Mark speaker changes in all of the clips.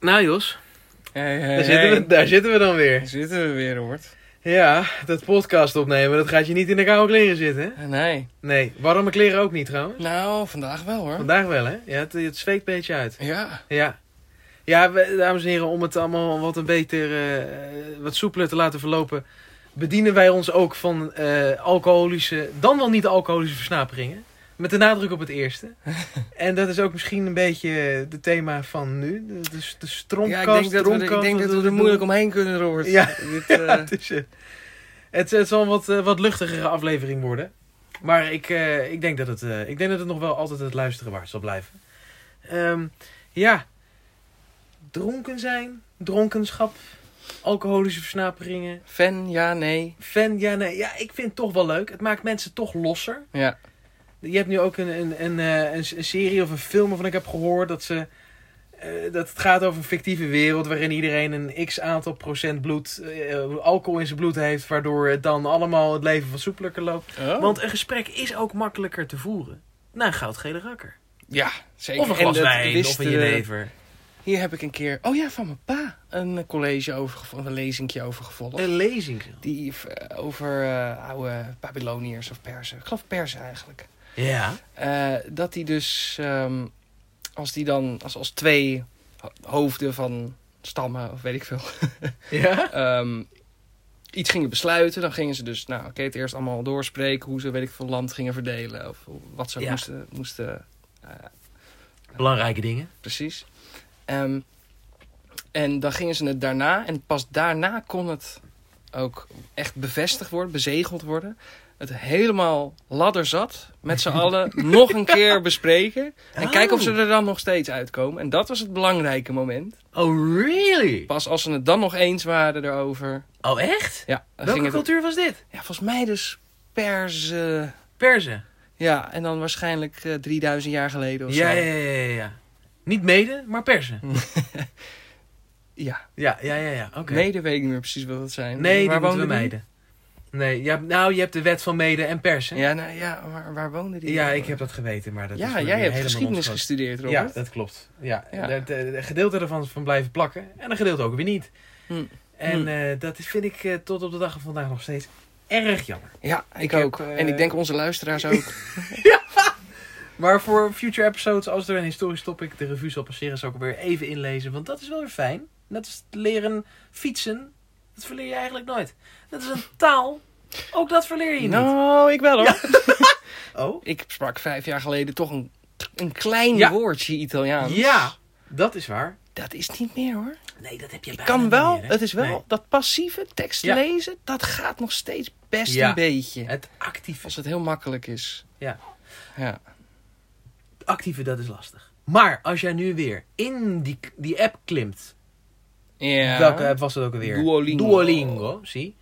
Speaker 1: Nou Jos,
Speaker 2: Hey, hey,
Speaker 1: daar, zitten
Speaker 2: hey.
Speaker 1: we, daar zitten we dan
Speaker 2: Daar
Speaker 1: weer.
Speaker 2: zitten we weer, hoort.
Speaker 1: Ja, dat podcast opnemen, dat gaat je niet in de koude kleren zitten. hè?
Speaker 2: Nee.
Speaker 1: Ah, Nee, warme kleren ook niet trouwens.
Speaker 2: Nou, vandaag wel hoor.
Speaker 1: Vandaag wel hè? Ja, het, het zweet een beetje uit.
Speaker 2: Ja.
Speaker 1: Ja. Ja, we- dames en heren, om het allemaal wat een beter, eh, wat soepeler te laten verlopen, bedienen wij ons ook van eh, alcoholische, dan wel niet alcoholische versnaperingen. Met de nadruk op het eerste. en dat is ook misschien een beetje het thema van nu. De, de, de
Speaker 2: ja,
Speaker 1: stroomkast,
Speaker 2: ik denk dat we, er- ik
Speaker 1: droomkast,
Speaker 2: denk
Speaker 1: wat
Speaker 2: dat we er
Speaker 1: doen.
Speaker 2: moeilijk omheen kunnen, Robert.
Speaker 1: Ja.
Speaker 2: Dit,
Speaker 1: Ja,
Speaker 2: eh,
Speaker 1: het, is, eh, het, het zal een wat, eh, wat luchtigere aflevering worden. Maar ik, eh, ik, denk dat het, eh, ik denk dat het nog wel altijd het luisteren waard zal blijven. Ehm, ja, dronken zijn, dronkenschap, alcoholische versnaperingen.
Speaker 2: fan, ja, nee.
Speaker 1: Fan, ja, nee, ja, ik vind het toch wel leuk. Het maakt mensen toch losser.
Speaker 2: Ja.
Speaker 1: Je hebt nu ook een, een, een, eh, een, s- een serie of een film waarvan ik heb gehoord dat ze. eh, dat het gaat over een fictieve wereld waarin iedereen een x aantal procent bloed, eh, alcohol in zijn bloed heeft, waardoor het dan allemaal het leven wat soepelijker loopt.
Speaker 2: Oh.
Speaker 1: Want een gesprek is ook makkelijker te voeren. Na een goudgele rakker.
Speaker 2: Ja, zeker.
Speaker 1: Of een
Speaker 2: En
Speaker 1: glas
Speaker 2: dat
Speaker 1: wijn,
Speaker 2: wist,
Speaker 1: of in je
Speaker 2: eh,
Speaker 1: lever.
Speaker 2: Hier heb ik een keer, oh ja, van mijn pa, een eh, college over, gevo- een lezingje over gevolgd.
Speaker 1: Een lezing.
Speaker 2: Die eh, over eh, oude Babyloniërs of Perzen. Ik geloof Perzen eigenlijk.
Speaker 1: Ja.
Speaker 2: Eh, dat die dus, ehm, als die dan als, als twee ho- hoofden van stammen of weet ik veel,
Speaker 1: Ja?
Speaker 2: ehm, iets gingen besluiten, dan gingen ze dus, nou oké, het eerst allemaal doorspreken hoe ze weet ik veel land gingen verdelen of wat ze
Speaker 1: Ja.
Speaker 2: moesten, moesten
Speaker 1: Belangrijke dingen.
Speaker 2: precies. Ehm, en dan gingen ze het daarna en pas daarna kon het ook echt bevestigd worden, bezegeld worden. Het helemaal ladderzat, met z'n allen nog een keer bespreken. En
Speaker 1: Oh.
Speaker 2: kijken of ze er dan nog steeds uitkomen. En dat was het belangrijke moment.
Speaker 1: Oh, really?
Speaker 2: Pas als ze het dan nog eens waren erover.
Speaker 1: Oh, echt?
Speaker 2: Ja, dan
Speaker 1: Welke
Speaker 2: ging het.
Speaker 1: cultuur was dit?
Speaker 2: Ja, volgens mij dus pers. eh,
Speaker 1: Perzen.
Speaker 2: ja, en dan waarschijnlijk eh, 3000 jaar geleden of
Speaker 1: Ja,
Speaker 2: zo.
Speaker 1: ja, ja, ja, ja. Niet mede, maar persen.
Speaker 2: ja.
Speaker 1: Ja, ja, ja, ja. Oké.
Speaker 2: Nee, dat weet ik niet meer precies wat dat zijn.
Speaker 1: Nee, die moeten
Speaker 2: Waar
Speaker 1: we
Speaker 2: woonden die?
Speaker 1: mijden. Nee, ja, nou, je hebt de wet van mede en persen. Ja,
Speaker 2: Ja, nou, ja maar waar woonde die? dan?
Speaker 1: ik heb dat geweten, maar dat is
Speaker 2: ja,
Speaker 1: me
Speaker 2: jij
Speaker 1: weer
Speaker 2: hebt
Speaker 1: helemaal
Speaker 2: geschiedenis
Speaker 1: ontschoten.
Speaker 2: gestudeerd, Robert.
Speaker 1: Ja, dat klopt. Ja,
Speaker 2: Ja.
Speaker 1: Dat, eh, een gedeelte ervan van blijven plakken en een gedeelte ook weer niet.
Speaker 2: Hm.
Speaker 1: En
Speaker 2: Hm.
Speaker 1: eh, dat vind ik eh, tot op de dag van vandaag nog steeds erg jammer.
Speaker 2: Ja, ik,
Speaker 1: Ik
Speaker 2: ook.
Speaker 1: heb, eh,
Speaker 2: En ik denk onze luisteraars ook.
Speaker 1: Maar voor future episodes, als er een historisch topic de revue zal passeren, zal ik hem weer even inlezen. Want dat is wel weer fijn. Net als het leren fietsen, dat verleer je eigenlijk nooit. Net als een taal, ook dat verleer je niet.
Speaker 2: nou, ik wel hoor.
Speaker 1: Oh?
Speaker 2: Ik sprak vijf jaar geleden toch een, een klein
Speaker 1: Ja.
Speaker 2: woordje Italiaans.
Speaker 1: Ja, dat is waar. Dat
Speaker 2: Dat is niet meer hoor.
Speaker 1: Nee, dat heb je
Speaker 2: Ik
Speaker 1: bijna
Speaker 2: kan
Speaker 1: niet
Speaker 2: wel,
Speaker 1: meer, hè?
Speaker 2: het is wel,
Speaker 1: Nee.
Speaker 2: dat passieve tekst
Speaker 1: Ja.
Speaker 2: lezen, dat gaat nog steeds best
Speaker 1: Ja.
Speaker 2: een beetje.
Speaker 1: Het actieve.
Speaker 2: Als het heel makkelijk is.
Speaker 1: Ja.
Speaker 2: Ja.
Speaker 1: Het actieve, dat is lastig. Maar als jij nu weer in die, die app klimt.
Speaker 2: ja.
Speaker 1: Welke app was dat ook alweer?
Speaker 2: Duolingo.
Speaker 1: Duolingo, zie.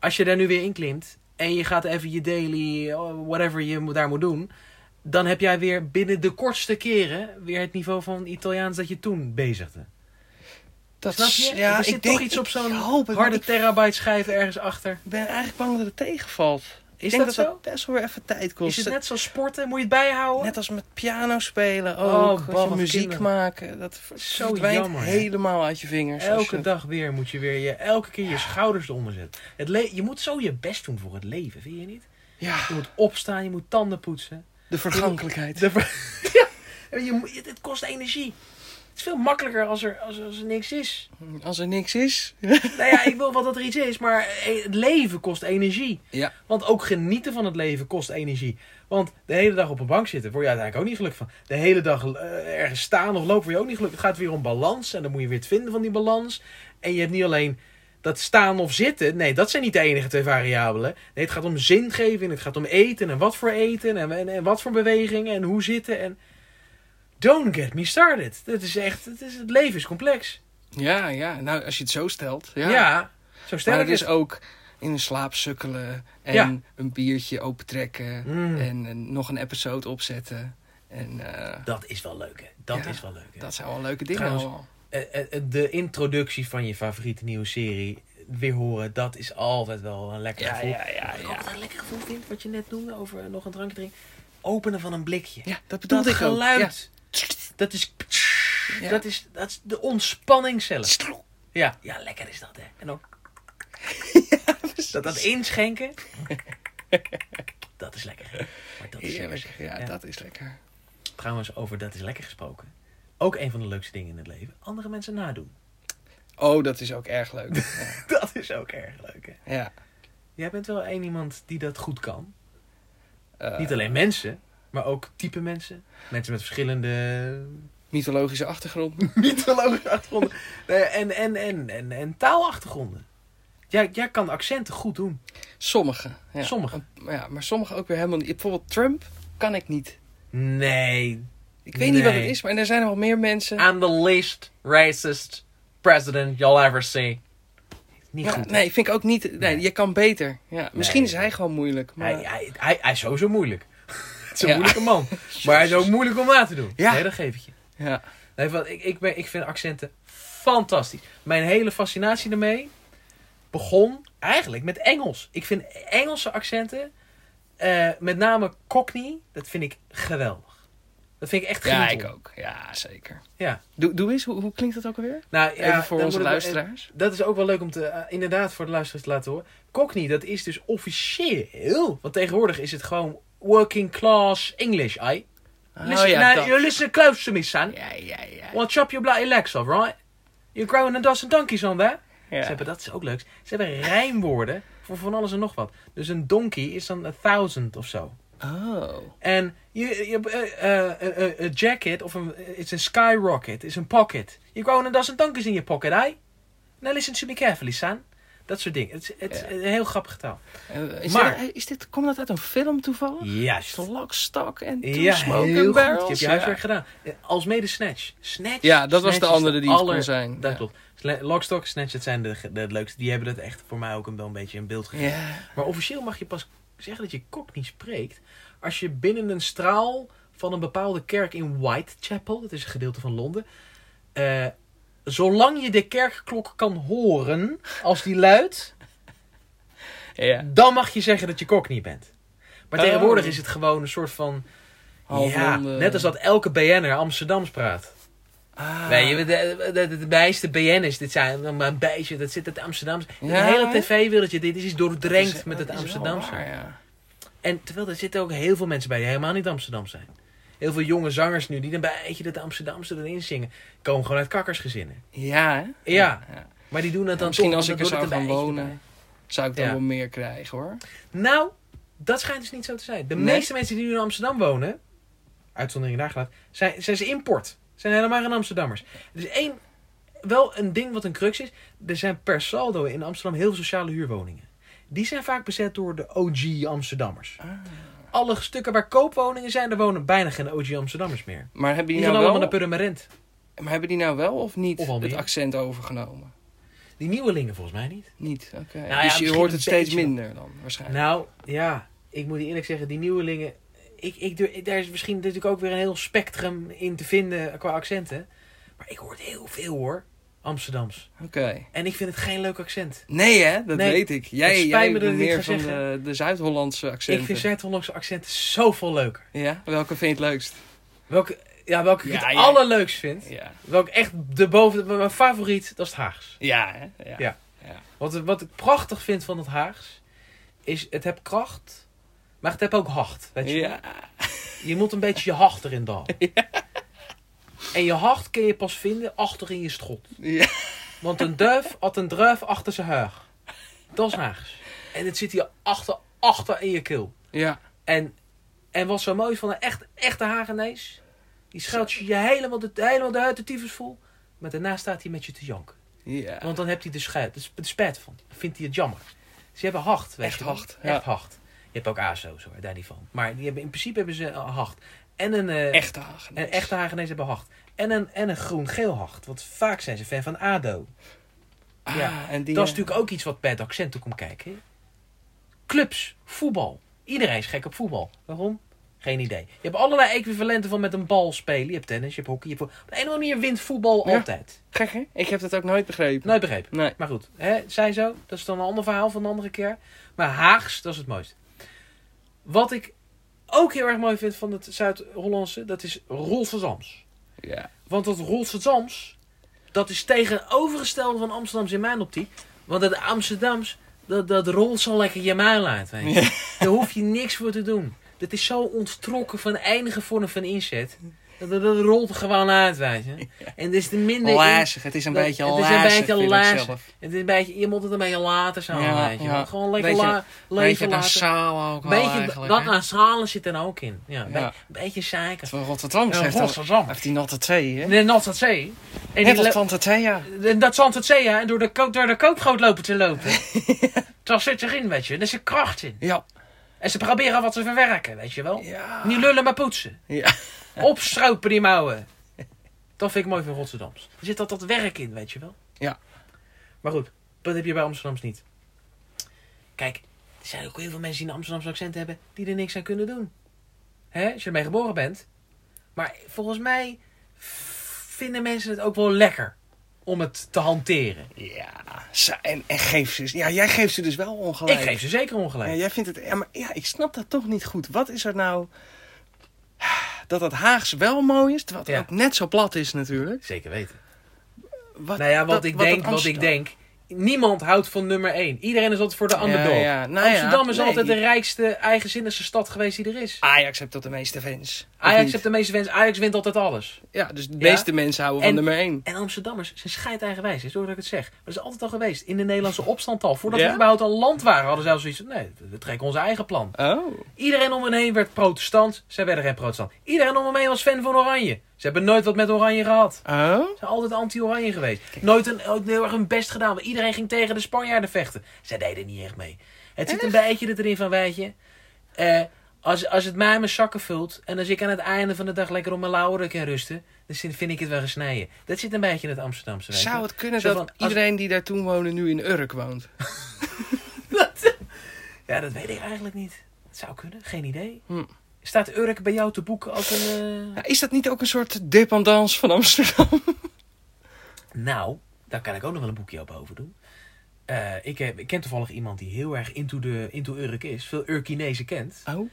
Speaker 1: Als je daar nu weer in klimt en je gaat even je daily, oh, whatever je moet- daar moet doen. Dan heb jij weer binnen de kortste keren weer het niveau van Italiaans dat je toen bezigde.
Speaker 2: dat
Speaker 1: Snap
Speaker 2: is-
Speaker 1: je?
Speaker 2: Ja,
Speaker 1: er zit
Speaker 2: ik
Speaker 1: toch
Speaker 2: denk,
Speaker 1: iets op
Speaker 2: ik
Speaker 1: zo'n
Speaker 2: hoop het,
Speaker 1: harde
Speaker 2: want
Speaker 1: terabyte schijf ergens achter.
Speaker 2: Ik ben eigenlijk bang dat het tegenvalt.
Speaker 1: Is
Speaker 2: ik denk
Speaker 1: dat
Speaker 2: dat
Speaker 1: zo?
Speaker 2: dat best wel weer even tijd kost.
Speaker 1: Is het net zoals sporten? Moet je het bijhouden?
Speaker 2: Net als met piano spelen
Speaker 1: Oh,
Speaker 2: ook.
Speaker 1: bal,
Speaker 2: als je
Speaker 1: wat
Speaker 2: muziek
Speaker 1: kinderen.
Speaker 2: maken. Dat ver-
Speaker 1: Zo
Speaker 2: verdwijnt
Speaker 1: jammer, hè?
Speaker 2: helemaal uit je vingers. als
Speaker 1: Elke
Speaker 2: je-
Speaker 1: dag weer moet je weer je, elke keer je schouders eronder zetten. Het le- je moet zo je best doen voor het leven, vind je niet?
Speaker 2: Ja,
Speaker 1: Je moet opstaan, je moet tanden poetsen.
Speaker 2: de vergankelijkheid.
Speaker 1: De ver- ja, en je, moet- het, het kost energie. Het is veel makkelijker als er, als, als er niks is.
Speaker 2: Als er niks is.
Speaker 1: nou ja, ik wil wel dat er iets is, maar eh, het leven kost energie.
Speaker 2: Ja.
Speaker 1: Want ook genieten van het leven kost energie. Want de hele dag op een bank zitten word je uiteindelijk ook niet gelukkig van. De hele dag eh, ergens staan of lopen word je ook niet gelukkig. Het gaat weer om balans en dan moet je weer het vinden van die balans. En je hebt niet alleen dat staan of zitten. Nee, dat zijn niet de enige twee variabelen. Nee, het gaat om zingeving, het gaat om eten en wat voor eten en, en, en wat voor bewegingen en hoe zitten. En... Don't get me started. Dit is echt, het, is, het leven is complex.
Speaker 2: Ja, ja. Nou, als je het zo stelt. Ja.
Speaker 1: Ja, zo stel
Speaker 2: maar
Speaker 1: ik
Speaker 2: het is
Speaker 1: het.
Speaker 2: ook in een slaap sukkelen. En
Speaker 1: Ja.
Speaker 2: een biertje opentrekken.
Speaker 1: Mm.
Speaker 2: En, en nog een episode opzetten. En eh,
Speaker 1: Dat is wel leuk, hè. Dat
Speaker 2: Ja,
Speaker 1: is wel leuk, hè.
Speaker 2: dat zijn wel leuke dingen
Speaker 1: Trouwens,
Speaker 2: allemaal.
Speaker 1: Eh, eh, de introductie van je favoriete nieuwe serie weer horen, dat is altijd wel een lekker
Speaker 2: Ja,
Speaker 1: gevoel.
Speaker 2: ja, ja,
Speaker 1: Wat ik
Speaker 2: ja.
Speaker 1: altijd een lekker gevoel vind, wat je net noemde over eh, nog een drankje drinken. Openen van een blikje.
Speaker 2: Ja, dat bedoelde
Speaker 1: Dat
Speaker 2: ik ook. Ja.
Speaker 1: geluid. Dat is...
Speaker 2: Ja.
Speaker 1: Dat, is, dat is de ontspanning zelf.
Speaker 2: Stroe.
Speaker 1: Ja. ja, lekker is dat, hè. En dan dat, dat inschenken. dat is lekker. Maar dat is
Speaker 2: Heerlijk.
Speaker 1: lekker.
Speaker 2: Ja,
Speaker 1: Ja.
Speaker 2: dat is lekker.
Speaker 1: Trouwens, over dat is lekker gesproken. Ook een van de leukste dingen in het leven. Andere mensen nadoen.
Speaker 2: Oh, dat is ook erg leuk. ja.
Speaker 1: Dat is ook erg leuk, hè.
Speaker 2: ja.
Speaker 1: Jij bent wel één iemand die dat goed kan.
Speaker 2: Eh,
Speaker 1: Niet alleen mensen, maar ook type mensen. Mensen met verschillende
Speaker 2: mythologische achtergrond.
Speaker 1: mythologische achtergronden. Nee, en, en, en, en, en taalachtergronden. Jij, jij kan accenten goed doen.
Speaker 2: Sommige. Ja.
Speaker 1: Sommige.
Speaker 2: Ja, maar sommige ook weer helemaal niet. Bijvoorbeeld Trump kan ik niet.
Speaker 1: Nee.
Speaker 2: Ik weet niet wat het
Speaker 1: Nee. Ah,
Speaker 2: is, maar er zijn nog meer mensen.
Speaker 1: I'm the least racist president you'll ever see. Niet
Speaker 2: Ja,
Speaker 1: goed. hè?
Speaker 2: nee, vind ik ook niet. Nee,
Speaker 1: Nee.
Speaker 2: je kan beter. Ja, misschien
Speaker 1: Nee.
Speaker 2: is hij gewoon moeilijk. Maar...
Speaker 1: Hij, hij, hij, hij is sowieso moeilijk. het is een
Speaker 2: Ja.
Speaker 1: moeilijke man. Maar hij is ook moeilijk om na te doen.
Speaker 2: Ja.
Speaker 1: Nee, dat geef ik je.
Speaker 2: ja.
Speaker 1: Nee, want ik, ik, ben, ik vind accenten fantastisch. Mijn hele fascinatie ermee begon eigenlijk met Engels. Ik vind Engelse accenten, eh, met name Cockney, dat vind ik geweldig. Dat vind ik echt
Speaker 2: ja,
Speaker 1: genieten.
Speaker 2: ik ook. Ja, zeker.
Speaker 1: Ja.
Speaker 2: Doe, doe eens, hoe, hoe klinkt dat ook alweer?
Speaker 1: Nou, ja,
Speaker 2: Even voor
Speaker 1: dan
Speaker 2: onze
Speaker 1: moet ik-
Speaker 2: luisteraars.
Speaker 1: Dat is ook wel leuk om te, eh, inderdaad voor de luisteraars te laten horen. Cockney, dat is dus officieel. Want tegenwoordig is het gewoon working class English, I. Listen,
Speaker 2: Oh ja,
Speaker 1: now,
Speaker 2: dat.
Speaker 1: you listen close to me, son.
Speaker 2: Ja, ja, ja.
Speaker 1: Well, chop your bloody legs off, right? You're growing a dozen donkeys on there.
Speaker 2: Ja.
Speaker 1: Ze hebben, dat is ook leuk. Ze hebben rijmwoorden voor van alles en nog wat. Dus een donkey is dan a thousand of zo.
Speaker 2: Oh.
Speaker 1: En je, je, eh, eh, eh, eh, een jacket of een, eh, it's een skyrocket, is een pocket. You're growing a dozen donkeys in your pocket, eh? Now listen to me carefully, son. Dat soort dingen. Het is het is
Speaker 2: Ja.
Speaker 1: een heel grappige taal.
Speaker 2: Eh, Is
Speaker 1: Maar-
Speaker 2: dit, is dit, komt dat uit een film toevallig?
Speaker 1: Juist.
Speaker 2: Lockstock en Two
Speaker 1: Ja,
Speaker 2: Smoking
Speaker 1: heel goed.
Speaker 2: Barrels.
Speaker 1: Je hebt je
Speaker 2: Ja.
Speaker 1: huiswerk gedaan. Eh, Als mede Snatch. Snatch.
Speaker 2: Ja, dat was
Speaker 1: Snatch
Speaker 2: de
Speaker 1: is
Speaker 2: andere die het kon
Speaker 1: aller-
Speaker 2: zijn.
Speaker 1: Dat
Speaker 2: Ja.
Speaker 1: klopt. Sla- Lockstock, Snatch, dat zijn de, de leukste. Die hebben dat echt voor mij ook een, wel een beetje in beeld gegeven.
Speaker 2: Ja.
Speaker 1: Maar officieel mag je pas zeggen dat je Cockney spreekt als je binnen een straal van een bepaalde kerk in Whitechapel, dat is een gedeelte van Londen, eh, zolang je de kerkklok kan horen als die luidt,
Speaker 2: ja.
Speaker 1: dan mag je zeggen dat je Cockney bent. Maar
Speaker 2: Oh.
Speaker 1: tegenwoordig is het gewoon een soort van
Speaker 2: Half
Speaker 1: ja,
Speaker 2: Londen.
Speaker 1: net als dat elke BN'er Amsterdams praat.
Speaker 2: Ah.
Speaker 1: Weet je, de, de, de, de meeste BN'ers, dit zijn dan maar een beetje, dat zit het Amsterdams.
Speaker 2: Ja,
Speaker 1: de hele
Speaker 2: hè?
Speaker 1: tv-wereldje, dit is doordrenkt
Speaker 2: Dat is-
Speaker 1: met het
Speaker 2: dat is wel
Speaker 1: Amsterdamse.
Speaker 2: waar, ja.
Speaker 1: En terwijl er zitten ook heel veel mensen bij die helemaal niet Amsterdam zijn. Heel veel jonge zangers nu die een beetje dat Amsterdamse erin zingen. Komen gewoon uit kakkersgezinnen.
Speaker 2: Ja, hè?
Speaker 1: Ja.
Speaker 2: ja.
Speaker 1: Maar die doen dat dan
Speaker 2: Misschien
Speaker 1: toch,
Speaker 2: als ik
Speaker 1: want
Speaker 2: er
Speaker 1: dan
Speaker 2: zou
Speaker 1: hoort het
Speaker 2: gaan
Speaker 1: een beetje
Speaker 2: wonen, zou ik dan
Speaker 1: Ja.
Speaker 2: wel meer krijgen hoor.
Speaker 1: erbij. Nou, dat schijnt dus niet zo te zijn. De
Speaker 2: Nee?
Speaker 1: meeste mensen die nu in Amsterdam wonen, uitzondering daar gelaten, zijn, zijn ze import. Zijn helemaal geen Amsterdammers. Het is één, wel een ding wat een crux is. Er zijn per saldo in Amsterdam heel veel sociale huurwoningen. Die zijn vaak bezet door de OG Amsterdammers.
Speaker 2: Ah.
Speaker 1: alle stukken waar koopwoningen zijn, daar wonen bijna geen OG Amsterdammers meer.
Speaker 2: Maar hebben
Speaker 1: Die
Speaker 2: die,
Speaker 1: gaan
Speaker 2: nou
Speaker 1: allemaal naar
Speaker 2: wel,
Speaker 1: Purmerend.
Speaker 2: maar hebben die nou wel of niet
Speaker 1: Of al
Speaker 2: het
Speaker 1: meer.
Speaker 2: accent overgenomen?
Speaker 1: Die nieuwelingen volgens mij niet.
Speaker 2: Niet, oké.
Speaker 1: Nou ja,
Speaker 2: dus je
Speaker 1: misschien
Speaker 2: hoort
Speaker 1: een
Speaker 2: het steeds
Speaker 1: beetje.
Speaker 2: minder dan waarschijnlijk.
Speaker 1: Nou, ja, ik moet je eerlijk zeggen, die nieuwelingen... Ik, ik, durf- ik- daar is misschien natuurlijk ook weer een heel spectrum in te vinden qua accenten. Maar ik hoor het heel veel hoor, Amsterdams.
Speaker 2: Oké.
Speaker 1: En ik vind het geen leuk accent.
Speaker 2: Nee hè, dat
Speaker 1: Nee,
Speaker 2: weet ik. Jij,
Speaker 1: spijt
Speaker 2: jij
Speaker 1: me dat ik
Speaker 2: bent
Speaker 1: dit
Speaker 2: meer
Speaker 1: ga
Speaker 2: van
Speaker 1: zeggen.
Speaker 2: de, de Zuid-Hollandse accenten.
Speaker 1: Ik vind Zuid-Hollandse accenten zoveel leuker.
Speaker 2: Ja, welke vind je het leukst?
Speaker 1: Welke, ja, welke
Speaker 2: Ja,
Speaker 1: ik het
Speaker 2: ja. allerleukst
Speaker 1: allerleukst vind.
Speaker 2: Ja,
Speaker 1: Welke echt de boven... Mijn favoriet, dat is het Haags.
Speaker 2: ja hè? Ja.
Speaker 1: Ja. Wat, wat ik prachtig vind van het Haags, is het heb kracht, maar het heb ook hart. Weet je?
Speaker 2: Ja.
Speaker 1: je moet een beetje je hart erin dan. En je hart kun je pas vinden achter in je strot.
Speaker 2: Ja.
Speaker 1: Want een duif had een druif achter zijn huig. Dat is Haags. En het zit hier achter, achter in je keel.
Speaker 2: Ja.
Speaker 1: En, en wat zo mooi is van een echt, echte Hagenees, die schuilt je helemaal de, helemaal de huid de tyfus vol. Maar daarna staat hij met je te janken.
Speaker 2: Ja.
Speaker 1: Want dan hebt hij de, schuit, de, sp- de spijt van. Dan vindt hij het jammer. Ze hebben hart, weet
Speaker 2: Echt
Speaker 1: je wel.
Speaker 2: hard, ja.
Speaker 1: Echt hard. Je hebt ook ASO's hoor, daar niet van. Maar die hebben, in principe hebben ze een hart. En een, eh,
Speaker 2: Echte Hagen.
Speaker 1: een echte Hagenees hebben hart. En een, en een groen-geel hart. Want vaak zijn ze fan van ADO.
Speaker 2: Ah,
Speaker 1: ja.
Speaker 2: en die,
Speaker 1: Dat is
Speaker 2: eh,
Speaker 1: natuurlijk ook iets wat bij het accent toe komt kijken. hè. Clubs, voetbal. Iedereen is gek op voetbal. Waarom? Geen idee. Je hebt allerlei equivalenten van met een bal spelen. Je hebt tennis, je hebt hockey. Je hebt... vo- Op de een of andere manier wint voetbal
Speaker 2: Ja.
Speaker 1: altijd.
Speaker 2: Gek hè? Ik heb dat ook nooit begrepen.
Speaker 1: Nooit begrepen.
Speaker 2: Nee.
Speaker 1: Maar goed, hè, zij zo. Dat is dan een ander verhaal van een andere keer. Maar Haags, dat is het mooiste. Wat ik ook heel erg mooi vind van het Zuid-Hollandse, dat is Rolf van Zams.
Speaker 2: Ja.
Speaker 1: Want dat Rotterdams, dat is tegenovergestelde van Amsterdams in mijn optiek. Want het Amsterdams, dat, dat rolt zo lekker je muil uit. Weet je. Daar hoef je niks voor te doen. Dat is zo onttrokken van enige vorm van inzet. Dat, dat, dat rolt er gewoon uit, weet je. En dus de minder... in-
Speaker 2: Lazig, het is een
Speaker 1: dat-
Speaker 2: beetje
Speaker 1: het is
Speaker 2: lazig.
Speaker 1: een beetje
Speaker 2: vind ik
Speaker 1: lazig.
Speaker 2: zelf.
Speaker 1: het is een beetje, je moet het een beetje later zijn,
Speaker 2: Ja,
Speaker 1: weet je.
Speaker 2: ja.
Speaker 1: Gewoon lekker
Speaker 2: Beetje-
Speaker 1: la,
Speaker 2: Beetje
Speaker 1: leven laten.
Speaker 2: saal ook wel
Speaker 1: Beetje,
Speaker 2: eigenlijk.
Speaker 1: dat
Speaker 2: hè?
Speaker 1: nasale zit er nou ook in. Ja, Een
Speaker 2: Ja.
Speaker 1: be- beetje zeiken.
Speaker 2: Terwijl Rotterdam
Speaker 1: Ja,
Speaker 2: zegt dan-
Speaker 1: Rotterdam.
Speaker 2: heeft hij natte thee, hè?
Speaker 1: Nee, not dat zee. En
Speaker 2: Net
Speaker 1: die
Speaker 2: als
Speaker 1: le-
Speaker 2: Tante Thea.
Speaker 1: en dat zand het zee, ja, en door de, ko- door de koopgoot lopen te lopen. Dat zit erin, weet je. En er zit kracht in.
Speaker 2: Ja.
Speaker 1: En ze proberen wat te verwerken, weet je wel.
Speaker 2: Ja.
Speaker 1: Niet lullen, maar poetsen.
Speaker 2: Ja.
Speaker 1: Opstropen die mouwen. Dat vind ik mooi van Rotterdams. Er zit dat dat werk in, weet je wel.
Speaker 2: Ja.
Speaker 1: Maar goed, dat heb je bij Amsterdams niet. Kijk, er zijn ook heel veel mensen die een Amsterdamse accent hebben... die er niks aan kunnen doen. Hè, als je ermee geboren bent. Maar volgens mij vinden mensen het ook wel lekker... om het te hanteren.
Speaker 2: Ja. Ze- En, en geef ze... Ja, jij geeft ze dus wel ongelijk.
Speaker 1: Ik geef ze zeker ongelijk.
Speaker 2: Ja, jij vindt het... Ja, maar ja, ik snap dat toch niet goed. Wat is er nou... Dat dat Haags wel mooi is, terwijl het
Speaker 1: Ja.
Speaker 2: ook net zo plat is natuurlijk.
Speaker 1: Zeker weten.
Speaker 2: Wat,
Speaker 1: nou ja, wat
Speaker 2: dat-
Speaker 1: ik
Speaker 2: dat
Speaker 1: denk, wat ik
Speaker 2: Amsterdam-
Speaker 1: denk. Niemand houdt van nummer 1. Iedereen is altijd voor de
Speaker 2: Ja,
Speaker 1: underdog.
Speaker 2: ja. Nou ja,
Speaker 1: Amsterdam is
Speaker 2: nee.
Speaker 1: altijd de rijkste, eigenzinnigste stad geweest die er is.
Speaker 2: Ajax heeft tot de meeste fans. of
Speaker 1: Ajax
Speaker 2: niet?
Speaker 1: heeft de meeste fans. Ajax wint altijd alles.
Speaker 2: Ja, dus de
Speaker 1: Ja.
Speaker 2: meeste mensen houden van
Speaker 1: En-
Speaker 2: nummer 1.
Speaker 1: En Amsterdammers zijn scheid eigenwijs. Is dat ik het zeg. Maar dat is altijd al geweest. In de Nederlandse opstand al. Voordat
Speaker 2: Ja?
Speaker 1: we überhaupt een land waren, hadden ze al zoiets van... Nee, we trekken ons eigen plan.
Speaker 2: Oh.
Speaker 1: Iedereen om hen heen werd protestant. Zij werden geen protestant. Iedereen om hem heen was fan van Oranje. Ze hebben nooit wat met Oranje gehad.
Speaker 2: Oh?
Speaker 1: Ze zijn altijd anti-oranje geweest. Nooit een, ook heel erg hun best gedaan. Maar iedereen ging tegen de Spanjaarden vechten. Zij deden niet echt mee. Het zit een beetje erin van, weet je... eh, als, als het mij mijn zakken vult... en als ik aan het einde van de dag lekker op mijn lauweren kan rusten... dan vind vind ik het wel gesneden. Dat zit een beetje in het Amsterdamse. weet je.
Speaker 2: Zou het kunnen
Speaker 1: Zo
Speaker 2: dat
Speaker 1: van, als-
Speaker 2: iedereen die daar toen woonde nu in Urk woont?
Speaker 1: Ja, dat weet ik eigenlijk niet. Het zou kunnen. Geen idee.
Speaker 2: Hm.
Speaker 1: Staat Urk bij jou te boeken als een... eh,
Speaker 2: Ja, is dat niet ook een soort dependance van Amsterdam?
Speaker 1: Nou, daar kan ik ook nog wel een boekje op over doen. Eh, ik, heb, ik ken toevallig iemand die heel erg into, de, into Urk is. Veel Urkinezen kent.
Speaker 2: Oh,